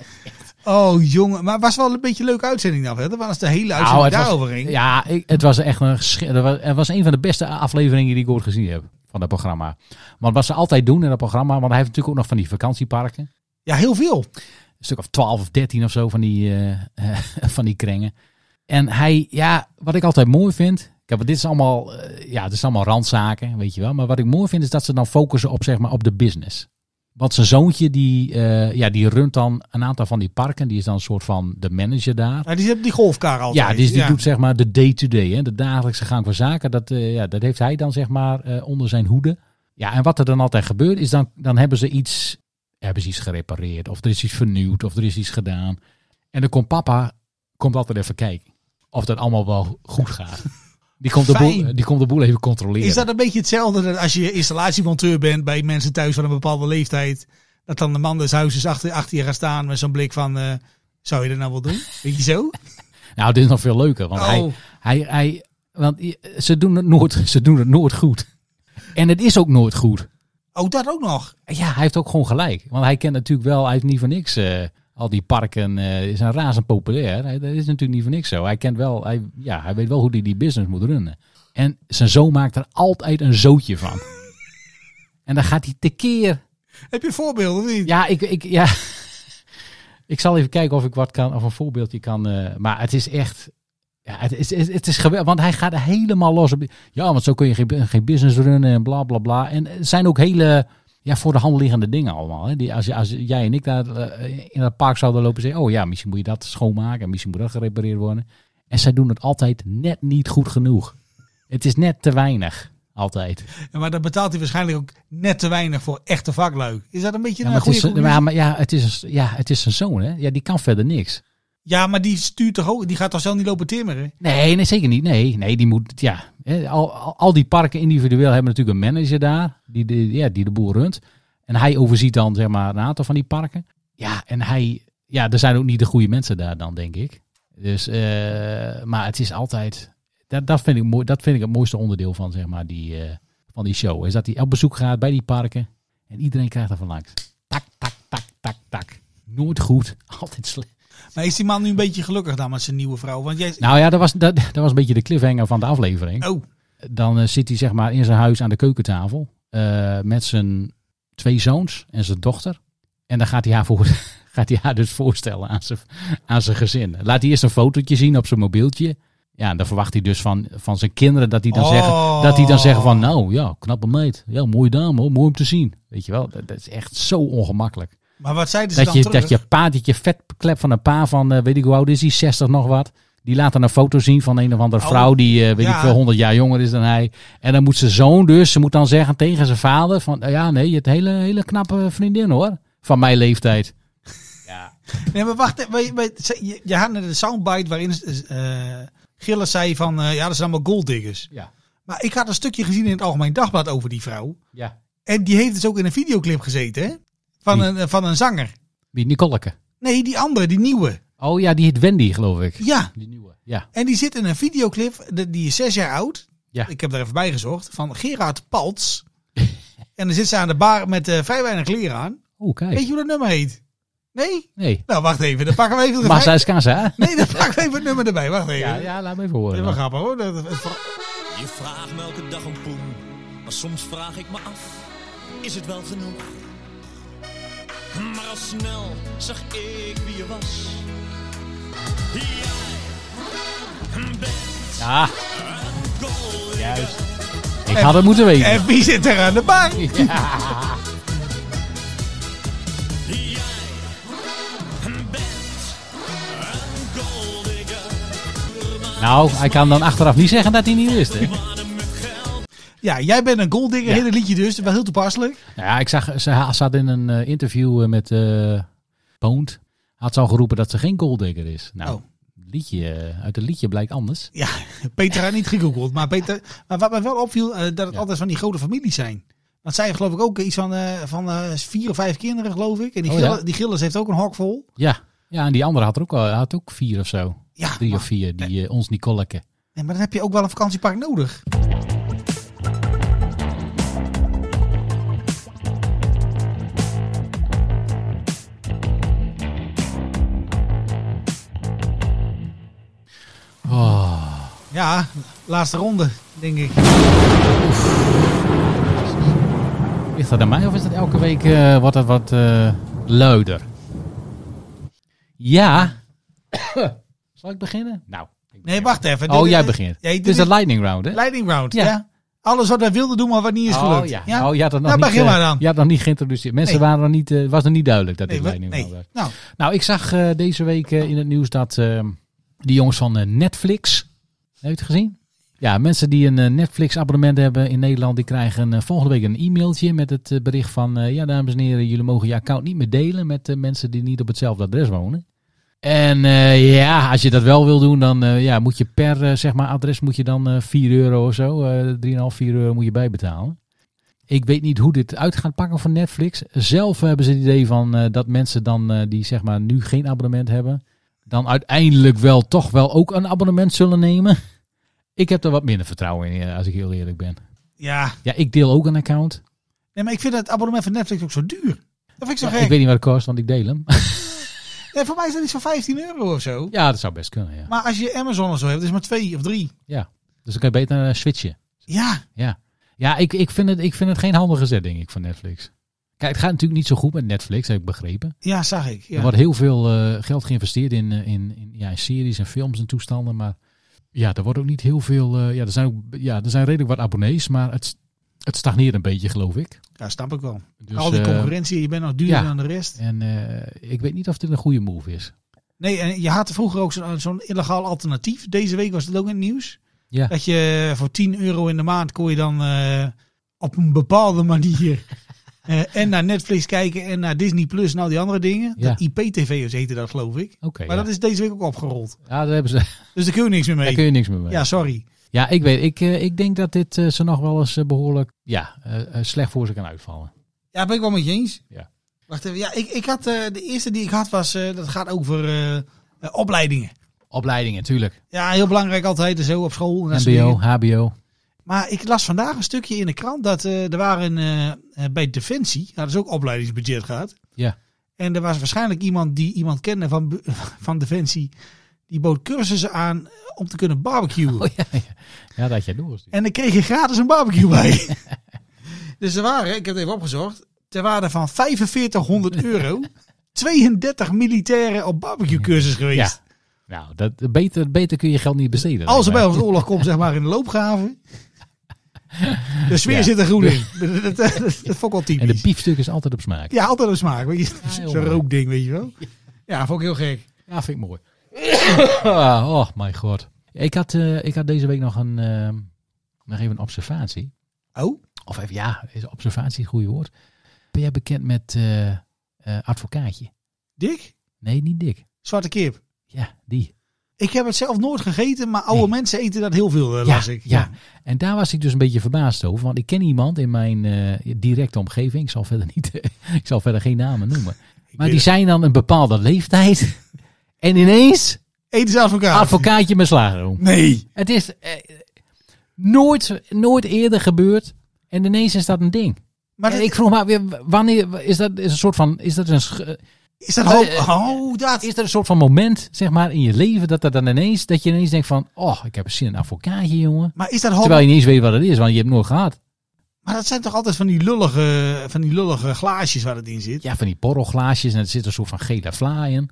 Oh jongen, maar het was wel een beetje een leuke uitzending dan verder. Want als de hele uitzending Nou, het was- daarover ging. Ja, ik- het was echt een, gesche- het was, het was een van de beste afleveringen die ik ooit gezien heb van dat programma. Want wat ze altijd doen in dat programma, want hij heeft natuurlijk ook nog van die vakantieparken. Ja, heel veel. een stuk of 12 of 13 of zo van die, eh, eh, van die kringen. En hij, ja, wat ik altijd mooi vind. Kijk, want dit is allemaal, eh, ja, dit is allemaal randzaken, weet je wel. Maar wat ik mooi vind is dat ze dan focussen op, zeg maar, op de business. Want zijn zoontje, die, eh, ja, die runt dan een aantal van die parken. Die is dan een soort van de manager daar. Ja, Nou, die hebben die golfkar altijd. Ja, dus die doet zeg maar de day-to-day, hè, de dagelijkse gang van zaken. Dat, eh, ja, dat heeft hij dan zeg maar eh, onder zijn hoede. Ja, en wat er dan altijd gebeurt is dan, dan hebben ze iets, hebben ze iets gerepareerd of er is iets vernieuwd of er is iets gedaan. En dan komt papa, komt altijd even kijken of dat allemaal wel goed gaat. Die komt, de boel, Fijn. die komt de boel even controleren. Is dat een beetje hetzelfde dat als je installatiemonteur bent bij mensen thuis van een bepaalde leeftijd. Dat dan de man des huizes achter, achter je gaat staan met zo'n blik van... eh, zou je dat nou wel doen? Weet je zo? Nou, dit is nog veel leuker. Want Oh. hij, hij, hij, want i- ze doen, het nooit, ze doen het nooit goed. En het is ook nooit goed. Oh, dat ook nog. Ja, hij heeft ook gewoon gelijk. Want hij kent natuurlijk wel, hij heeft niet voor niks. eh, al die parken eh, zijn razend populair. Hij, dat is natuurlijk niet voor niks zo. Hij kent wel, hij, ja, hij weet wel hoe hij die business moet runnen. En zijn zoon maakt er altijd een zootje van. en dan gaat hij tekeer. Heb je voorbeelden of niet? Ja, ik, ik, ja. ik zal even kijken of ik wat kan, of een voorbeeldje kan. eh, maar het is echt. Ja, het is, het, het is geweldig, want hij gaat helemaal los op. die- Ja, want zo kun je geen, geen business runnen en bla bla bla. En het zijn ook hele ja, voor de hand liggende dingen allemaal. Hè? Die, als, je- als jij en ik daar eh, in dat park zouden lopen en zeggen: Oh ja, misschien moet je dat schoonmaken en misschien moet dat gerepareerd worden. En zij doen het altijd net niet goed genoeg. Het is net te weinig, altijd. Maar dan betaalt hij waarschijnlijk ook net te weinig voor echte vaklui. Is dat een Ja, beetje een maar, het goede is, conclusie? maar, maar ja, het is, ja, het is zijn zoon, hè? Ja, die kan verder niks. Ja, maar die stuurt toch ook... Die gaat toch zelf niet lopen timmeren? Nee, nee, zeker niet. Nee, nee, die moet, ja. hè, Al, al, al die parken individueel hebben natuurlijk een manager daar, die de, ja, die de boel runt. En hij overziet dan, zeg maar, een aantal van die parken. Ja, en hij, ja, er zijn ook niet de goede mensen daar dan, denk ik. Dus, eh, maar het is altijd, dat, dat, vind ik mooi, dat vind ik het mooiste onderdeel van, zeg maar, die, eh, van die show. Is dat hij op bezoek gaat bij die parken en iedereen krijgt er van langs. Tak, tak, tak, tak, tak. Nooit goed, altijd slecht. Maar is die man nu een beetje gelukkig dan met zijn nieuwe vrouw? Want jij... Nou ja, dat was, dat, dat was een beetje de cliffhanger van de aflevering. Oh, Dan eh, zit hij zeg maar in zijn huis aan de keukentafel eh, met zijn twee zoons en zijn dochter. En dan gaat hij haar, voor, gaat hij haar dus voorstellen aan zijn, aan zijn gezin. Laat hij eerst een fotootje zien op zijn mobieltje. Ja, en dan verwacht hij dus van, van zijn kinderen dat die, dan Oh. zeggen, dat die dan zeggen van... Nou ja, knappe meid. Ja, mooie dame. hoor. Mooi om te zien. Weet je wel, dat, dat is echt zo ongemakkelijk. maar wat zeiden ze Dat dan je, terug? dat je pa, dat je vetklep van een pa van, eh, weet ik hoe oud is hij, 60 nog wat. Die laat dan een foto zien van een of andere Oh, vrouw die, eh, weet ja. ik veel, 100 jaar jonger is dan hij. En dan moet zijn zoon dus, ze moet dan zeggen tegen zijn vader van, "Nou ja nee, je hebt een hele, hele knappe vriendin hoor, van mijn leeftijd. Nee, maar wacht. even, weet- weet- ze- Je, je had net een soundbite waarin eh Gilles zei van... eh, ja, dat zijn allemaal golddiggers. Ja. Maar ik had een stukje gezien in het Algemeen Dagblad over die vrouw. Ja. En die heeft dus ook in een videoclip gezeten, hè? Van, Wie? een, eh, van een zanger. Wie? Nicoleke. Nee, die andere, die nieuwe. Oh ja, die heet Wendy, geloof ik. Ja, Die nieuwe. Ja. en die zit in een videoclip, de- die is zes jaar oud. Ja. Ik heb er even bij gezocht, van Gerard Palts. en dan zit ze aan de bar met eh, vrij weinig kleren Oeh, aan. Weet Oh, kijk. je hoe dat nummer heet? Nee? Nee. Nou, wacht even, dan pakken we even... de Massa vrij- is Kaza. Nee, dan pakken we even het nummer erbij, wacht even. Ja, ja, laat me even Dat is horen. wel dan. grappig hoor. Dat is voor- Je vraagt me elke dag een poen, maar soms vraag ik me af, is het wel genoeg? Maar al snel zag ik wie je was. Jij bent Ja, goal. juist. Ik had het moeten weten. En wie zit er aan de bar? Jij bent een goal digger. Nou, hij kan dan achteraf niet zeggen dat hij niet wist. Hè? Ja, jij bent een golddigger, Ja. hele liedje dus. Dat was heel toepasselijk. Nou Ja, ik zag, ze ha- zat in een eh, interview eh, met eh Poont. Had ze al geroepen dat ze geen golddigger is. Nou, Oh. liedje, eh, uit het liedje blijkt anders. Ja, Peter had niet gegoogeld. Maar, Peter, maar wat mij wel opviel, eh, dat het Ja. altijd van die grote families zijn. Want zij heeft geloof ik ook iets van, eh, van eh, vier of vijf kinderen, geloof ik. En die, Oh, ja. Gilles, die Gilles heeft ook een hok vol. Ja, ja en die andere had er ook, al- had ook vier of zo. Ja, Drie maar, of vier, die eh, ons Nicoleke. nee, maar dan heb je ook wel een vakantiepark nodig. Oh, Ja, laatste ronde, denk ik. ligt dat aan mij of is dat elke week eh, wordt dat wat eh luider? Ja. Zal ik beginnen? Nou. ik Nee, begin. wacht even. Oh, Dit- jij dit- begint. Ja, dit Het is de lightning round, hè? lightning round, ja. Ja. Alles wat wij wilden doen, maar wat niet is gelukt. Oh ja. Oh, je had dat nog Nou, niet, begin eh, maar dan. Je had nog niet geïntroduceerd. Mensen Nee. waren nog niet, eh, was nog niet duidelijk dat nee, dit we- leiding nee. was. Nou, Nou, ik zag eh, deze week eh, in het nieuws dat eh, die jongens van eh, Netflix, heb je het gezien? Ja, mensen die een eh, Netflix-abonnement hebben in Nederland, die krijgen eh, volgende week een e-mailtje met het eh, bericht van, eh, ja dames en heren, jullie mogen je account niet meer delen met eh, mensen die niet op hetzelfde adres wonen. En eh, ja, als je dat wel wil doen, dan eh, ja, moet je per eh, zeg maar, adres moet je dan eh 4 euro of zo, eh 3,5, 4 euro moet je bijbetalen. Ik weet niet hoe dit uit gaat pakken voor Netflix. Zelf hebben ze het idee van eh, dat mensen dan eh, die zeg maar nu geen abonnement hebben, dan uiteindelijk wel toch wel ook een abonnement zullen nemen. Ik heb er wat minder vertrouwen in, eh, als ik heel eerlijk ben. ja. Ja, ik deel ook een account. Nee, maar ik vind het abonnement van Netflix ook zo duur. Dat vind ik zo Ja, gek. ik weet niet wat het kost, want ik deel hem. Nee, voor mij is dat iets van 15 euro of zo. ja, dat zou best kunnen. Ja. Maar als je Amazon of zo hebt, is het maar twee of drie. Dus dan kan je beter eh, switchen. Ja, Ja, ik, ik, vind het, ik vind het geen handige zet, denk ik, van Netflix. Kijk, het gaat natuurlijk niet zo goed met Netflix, heb ik begrepen. ja, zag ik. Er Ja. wordt heel veel eh, geld geïnvesteerd in, eh, in, in, ja, in series en films en toestanden. Maar ja, er wordt ook niet heel veel. eh, ja, er zijn ook, ja, er zijn redelijk wat abonnees, maar het, het stagneert een beetje, geloof ik. ja, snap ik wel. Dus, Al die eh, concurrentie, je bent nog duurder ja. dan de rest. en eh, ik weet niet of dit een goede move is. Nee, en je had vroeger ook zo'n zo'n illegaal alternatief. Deze week was dat ook in het nieuws. Ja. Dat je voor 10 euro in de maand kon je dan eh, op een bepaalde manier... eh, en naar Netflix kijken en naar Disney Plus en al die andere dingen. Ja. Dat IPTV's heette dat, geloof ik. Oké. Maar ja. dat is deze week ook opgerold. Ja, daar, hebben ze, Dus daar kun je niks meer daar mee. kun je niks meer mee. Ja, sorry. Ja, ik weet. Ik, eh, ik denk dat dit eh, ze nog wel eens eh, behoorlijk ja, eh, eh, slecht voor ze kan uitvallen. Ja, ben ik wel met je eens. Ja. Wacht even, ja, ik, ik had, eh, de eerste die ik had was, eh, dat gaat over eh, eh, opleidingen. Opleidingen, natuurlijk. Ja, heel belangrijk altijd, en zo op school. En dat soort MBO, dingen. HBO. Maar ik las vandaag een stukje in de krant dat eh, er waren eh, eh, bij Defensie, hadden ze ook opleidingsbudget gehad. Ja. En er was waarschijnlijk iemand die iemand kende van, bu- van Defensie, die bood cursussen aan om te kunnen barbecuen. Oh, ja, ja. ja, dat had jij doorgestuurd. En dan kreeg je gratis een barbecue bij. dus er waren, ik heb het even opgezocht, ter waarde van 4500 euro 32 militairen op barbecuecursus Ja. geweest. Nou, dat, beter, beter kun je geld niet besteden. Als er bij lijkt mij. ons oorlog komt, zeg maar in de loopgraven. De sfeer Ja. zit er groen in. Dat, dat, dat, dat vond ik wel En typisch. de biefstuk is altijd op smaak. Ja, altijd een smaak. Weet je? Ja, heel Zo'n mooi. rookding, weet je wel. Ja, vond ik heel gek. Ja, vind ik mooi. oh, mijn god. Ik had, eh, ik had deze week nog een, eh, nog even een observatie. Oh? Of even, ja, is observatie het goede woord? Ben jij bekend met eh, eh, advocaatje? Dick? Nee, niet dik. Zwarte kip. Ja, die. Ik heb het zelf nooit gegeten, maar oude Nee. mensen eten dat heel veel, eh, las ik. Ja. en daar was ik dus een beetje verbaasd over. Want ik ken iemand in mijn eh, directe omgeving. Ik zal verder, niet, ik zal verder geen namen noemen. Maar weet die zijn dan een bepaalde leeftijd. En ineens Eten ze advocaat. advocaatje met slagroom. nee. Het is eh, nooit, nooit eerder gebeurd. En ineens is dat een ding. Maar En dat- ik vroeg maar weer, wanneer is dat is een soort van. Is, dat een, sch- is dat Maar, ook... eh, Oh, dat... is er een soort van moment, zeg maar, in je leven dat er dan ineens dat je ineens denkt van. Oh, ik heb zin in een advocaatje, jongen. Maar is dat homo- Terwijl je niet eens weet wat het is, want je hebt het nooit gehad. Maar dat zijn toch altijd van die lullige, van die lullige glaasjes waar het in zit? Ja, van die porrelglaasjes en er zit een soort van gele vla in.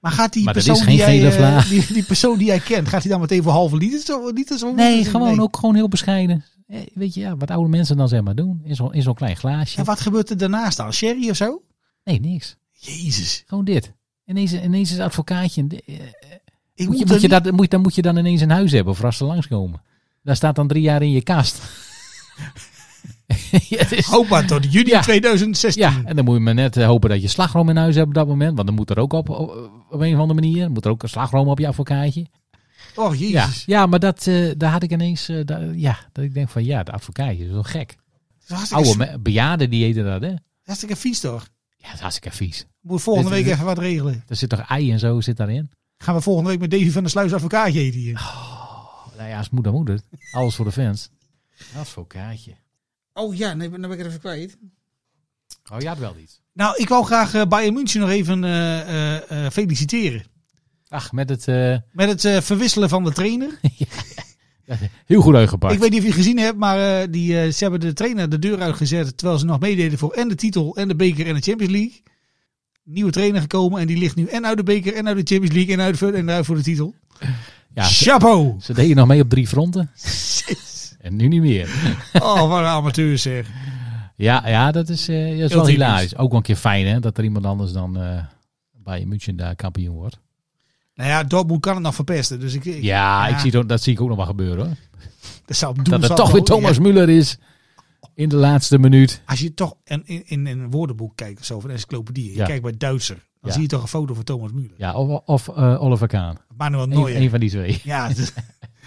Maar gaat die Maar dat persoon is geen die, jij, gele eh, vlaag. die, die persoon die jij kent, gaat hij dan meteen voor halve liter zo? Liter zo Nee, gewoon ook gewoon heel bescheiden. Eh, Weet je, ja, wat oude mensen dan zeg maar doen. In zo'n in zo'n klein glaasje. En wat gebeurt er daarnaast dan? Sherry of zo? Nee, niks. Jezus. Gewoon dit. Ineens, ineens is advocaatje. een- eh, Moet je, Ik er moet je niet- dat, moet, dan moet je dan ineens een huis hebben voor als ze langskomen. Daar staat dan drie jaar in je kast. Ja, het is- Hoop Oh, maar tot juni Ja. 2016. ja, en dan moet je maar net eh, hopen dat je slagroom in huis hebt op dat moment. Want dan moet er ook op, op, op een of andere manier. Moet er ook een slagroom op je advocaatje. Oh, Ja, jezus. ja maar dat, eh, daar had ik ineens, eh, daar- ja, dat ik denk van ja, de advocaatje is wel gek. Dat is hartstikke, Oude me- bejaarden die eten dat, hè? hartstikke vies toch? Ja, dat is hartstikke vies. Moet volgende Dit- week dit- even wat regelen. Er zit toch ei en zo zit daarin? Gaan we volgende week met Davy van der Sluis advocaatje eten hier. Nou ja, als moeder moeder. Alles voor de fans. Advocaatje. Oh ja, nee, dan ben ik er even kwijt. Oh, ja, had wel iets. Nou, ik wou graag eh, Bayern München nog even eh, eh, eh, feliciteren. Ach, met het eh, Met het eh, verwisselen van de trainer. heel goed uitgepakt. Ik weet niet of je het gezien hebt, maar eh, die, eh, ze hebben de trainer de deur uitgezet. Terwijl ze nog meededen voor en de titel en de beker en de Champions League. Nieuwe trainer gekomen en die ligt nu en uit de beker en uit de Champions League en uit, voor- en uit voor de titel. ja, ze, Chapeau! ze deden nog mee op drie fronten. en nu niet meer. Oh, wat een amateur zeg. Ja, ja dat is, eh, dat is wel typisch. hilarisch. Ook wel een keer fijn, hè? Dat er iemand anders dan eh bij München daar kampioen wordt. Nou ja, Dortmund kan het nog verpesten. Dus ik, ik- Ja, ja. Ik zie, het ook- dat zie ik ook nog wel gebeuren, hoor. dat zou doen. dat zou het toch wel- weer Thomas ja, Müller is in de laatste minuut. als je toch in, in, in een woordenboek kijkt of zo, van encyclopedie. Ja. Je kijkt bij Duitser. Dan Ja. zie je toch een foto van Thomas Müller. Ja, of, of eh, Oliver Kaan. Manuel Eén, Neuer. één van die twee. Ja, dus-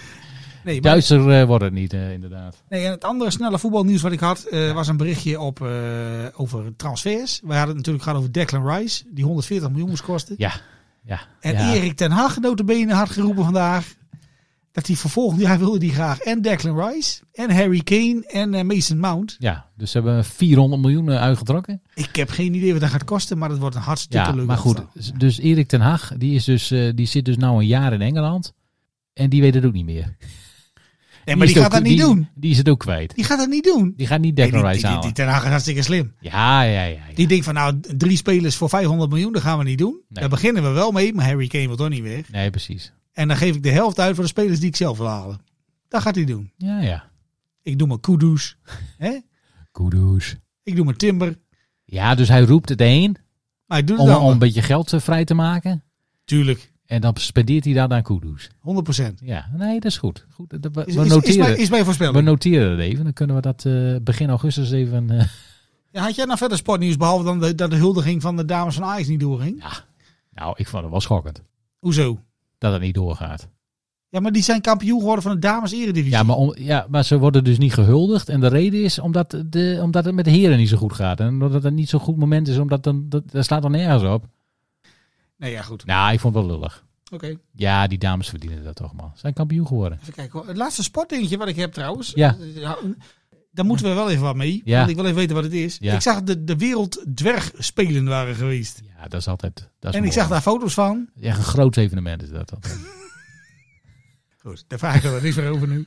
nee, maar- Duitser eh, wordt het niet, eh, inderdaad. Nee, en het andere snelle voetbalnieuws wat ik had, eh, was een berichtje op, eh, over transfers. We hadden het natuurlijk gehad over Declan Rice, die 140 miljoen moest kosten. Ja, ja. En ja. Erik ten Hag, notabene, had geroepen vandaag dat hij vervolgend jaar wilde die graag en Declan Rice en Harry Kane en eh, Mason Mount. Ja, dus ze hebben 400 miljoen eh, uitgetrokken. Ik heb geen idee wat dat gaat kosten, maar dat wordt een hartstikke Ja, leuk. maar goed. elftal. Dus Erik ten Hag, die, is dus, eh, die zit dus nou een jaar in Engeland. En die weet het ook niet meer. Nee, maar die, is gaat ook- dat niet die- doen. Die is het ook kwijt. Die gaat dat niet doen. Die gaat niet Nee, die, Declan die- Rice die- halen. die ten Hag is hartstikke slim. Ja, ja, ja. ja. Die denkt van nou, drie spelers voor 500 miljoen, dat gaan we niet doen. Nee. Daar beginnen we wel mee, maar Harry Kane wil toch niet weg. Nee, precies. En dan geef ik de helft uit voor de spelers die ik zelf wil halen. Dat gaat hij doen. Ja, ja. Ik doe mijn Kudus. hè? Kudos. Ik doe mijn Timber. Ja, dus hij roept het een Maar ik doe het om, om een dan. beetje geld eh, vrij te maken. Tuurlijk. 100%. En dan spendeert hij dat aan kudos. Is, Ja, nee, dat is goed. goed dat- dat- we, is, we is, is, noteren, mijn, is mijn we voorspelling. noteren het even. Dan kunnen we dat eh, begin augustus even... eh, Ja, had jij nou verder sportnieuws, behalve dan de, dat de huldiging van de dames van Ajax niet doorging? nou, ik vond het wel schokkend Hoezo? dat het niet doorgaat. Ja, maar die zijn kampioen geworden van de dames eredivisie. Ja maar, om, ja, maar ze worden dus niet gehuldigd. En de reden is omdat, de, omdat het met de heren niet zo goed gaat. En omdat het niet zo'n goed moment is, omdat dan, dat, dat slaat dan nergens op. Nee, ja, goed. Nou, ik vond het wel lullig. Oké, Ja, die dames verdienen dat toch, man. Ze Zijn kampioen geworden. even kijken. hoor. Het laatste sportdingetje wat ik heb trouwens. eh, Ja. Ja, Daar moeten we wel even wat mee. Ja. Want ik wil even weten wat het is. Ja. Ik zag de, de werelddwergspelen waren geweest. Ja, dat is altijd... Dat is en ik mooi. zag daar foto's van. Echt een groot evenement is dat dan. Goed, daar vraag ik er niks meer over nu.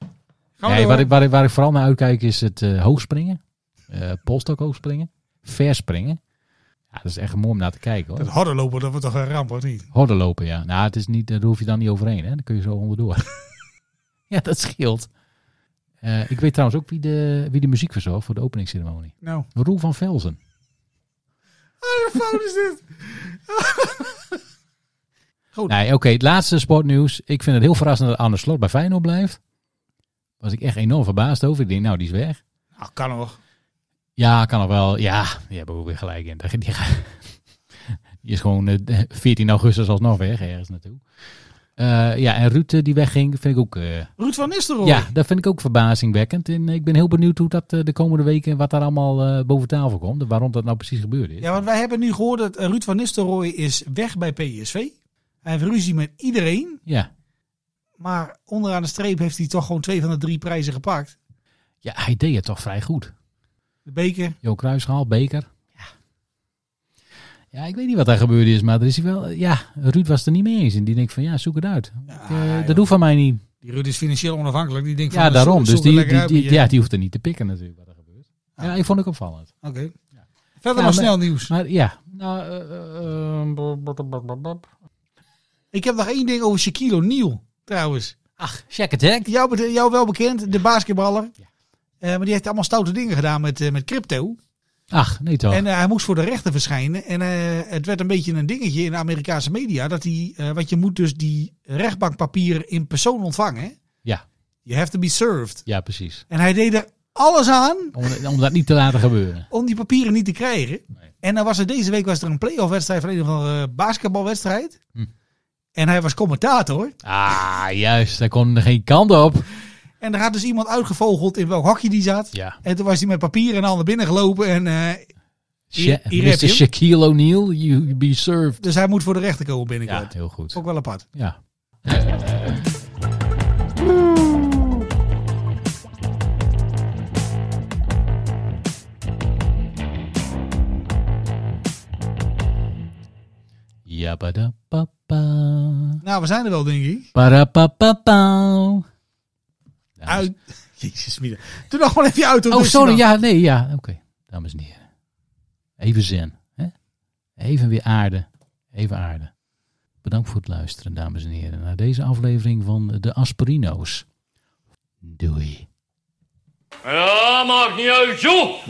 Gaan we Nee, door. waar, ik, waar, ik, waar ik vooral naar uitkijk is het eh, hoogspringen. eh polstok hoogspringen. Verspringen. Ja, dat is echt mooi om naar te kijken Dat hoor. hordenlopen, dat wordt toch een ramp, hoor niet? Horden lopen, ja. Nou, het is niet, daar hoef je dan niet overheen. Hè? Dan kun je zo onderdoor. ja, dat scheelt. Eh, ik weet trouwens ook wie de, wie de muziek verzorgt voor de openingsceremonie. Nou. Roel van Velzen. Wat een fout is dit? Nee, oké. het laatste sportnieuws. Ik vind het heel verrassend dat Arne Slot bij Feyenoord blijft. Was ik echt enorm verbaasd over. Ik denk, nou, die is weg. Nou, kan nog. Ja, kan nog wel. Ja, die hebben we ook weer gelijk in. Die, gaat- die is gewoon eh, 14 augustus alsnog weg ergens naartoe. Eh, Eh, ja, en Ruud eh, die wegging, vind ik ook... eh, Ruud van Nistelrooy. ja, dat vind ik ook verbazingwekkend. En eh, ik ben heel benieuwd hoe dat eh, de komende weken, wat daar allemaal eh, boven tafel komt. en Waarom dat nou precies gebeurd is. Ja, want wij hebben nu gehoord dat eh, Ruud van Nistelrooy is weg bij PSV. Hij heeft ruzie met iedereen. Ja. Maar onderaan de streep heeft hij toch gewoon twee van de drie prijzen gepakt. ja, hij deed het toch vrij goed. De beker. Jo Kruisgaal, Beker. Ja. ja, ik weet niet wat daar gebeurd is, maar er is hij wel... Ja, Ruud was het er niet mee eens. En die denkt van, ja, zoek het uit. Ik, eh, dat doet van mij niet. Die Ruud is financieel onafhankelijk. Die denkt van, Ja, eh, daarom. zoek- Dus zoek er die, lekker die, uit die- met je. ja, die hoeft er niet te pikken natuurlijk wat er gebeurt. Ja, ik vond ik opvallend. Oké. Verder Ja, nog maar- snel nieuws. Maar ja. Nou, eh, eh, eh, bop, bop, bop, bop, bop. Ik heb nog één ding over Shaquille O'Neal, trouwens. Ach, check het, hè? Jou, bed- jou wel bekend, de basketballer. Eh, maar die heeft allemaal stoute dingen gedaan met, eh, met crypto. Ach, nee toch. En eh, hij moest voor de rechter verschijnen. En eh, het werd een beetje een dingetje in de Amerikaanse media. Dat hij, eh want je moet dus die rechtbankpapieren in persoon ontvangen. hè? Ja, You have to be served. ja, precies. En hij deed er alles aan Om, om dat niet te laten gebeuren. om die papieren niet te krijgen. En dan was er deze week was er een playoff wedstrijd van een of andere eh, basketbalwedstrijd. Hm. En hij was commentator. Ah, juist. Daar kon er geen kant op. En er had dus iemand uitgevogeld in welk hokje die zat. Ja. En toen was hij met papieren en al naar binnen gelopen. En, eh, Hier- Sha- hier heb Mr. je hem. Shaquille O'Neal, you be served. dus hij moet voor de rechter komen binnenkort. Ja, heel goed. Ook wel apart. Ja. Ja, ba-da-pa-pa. Nou, we zijn er wel, denk ik. Ba-da-pa-pa-pa. Uit. Jezus, Mina. Doe nog maar even je auto. Oh, rustig sorry. aan. Ja, nee, ja. Oké, dames en heren. Even zen. Hè? Even weer aarde. Even aarde. Bedankt voor het luisteren, dames en heren, naar deze aflevering van De Aspirino's. Doei. Ja, maakt niet uit, joh!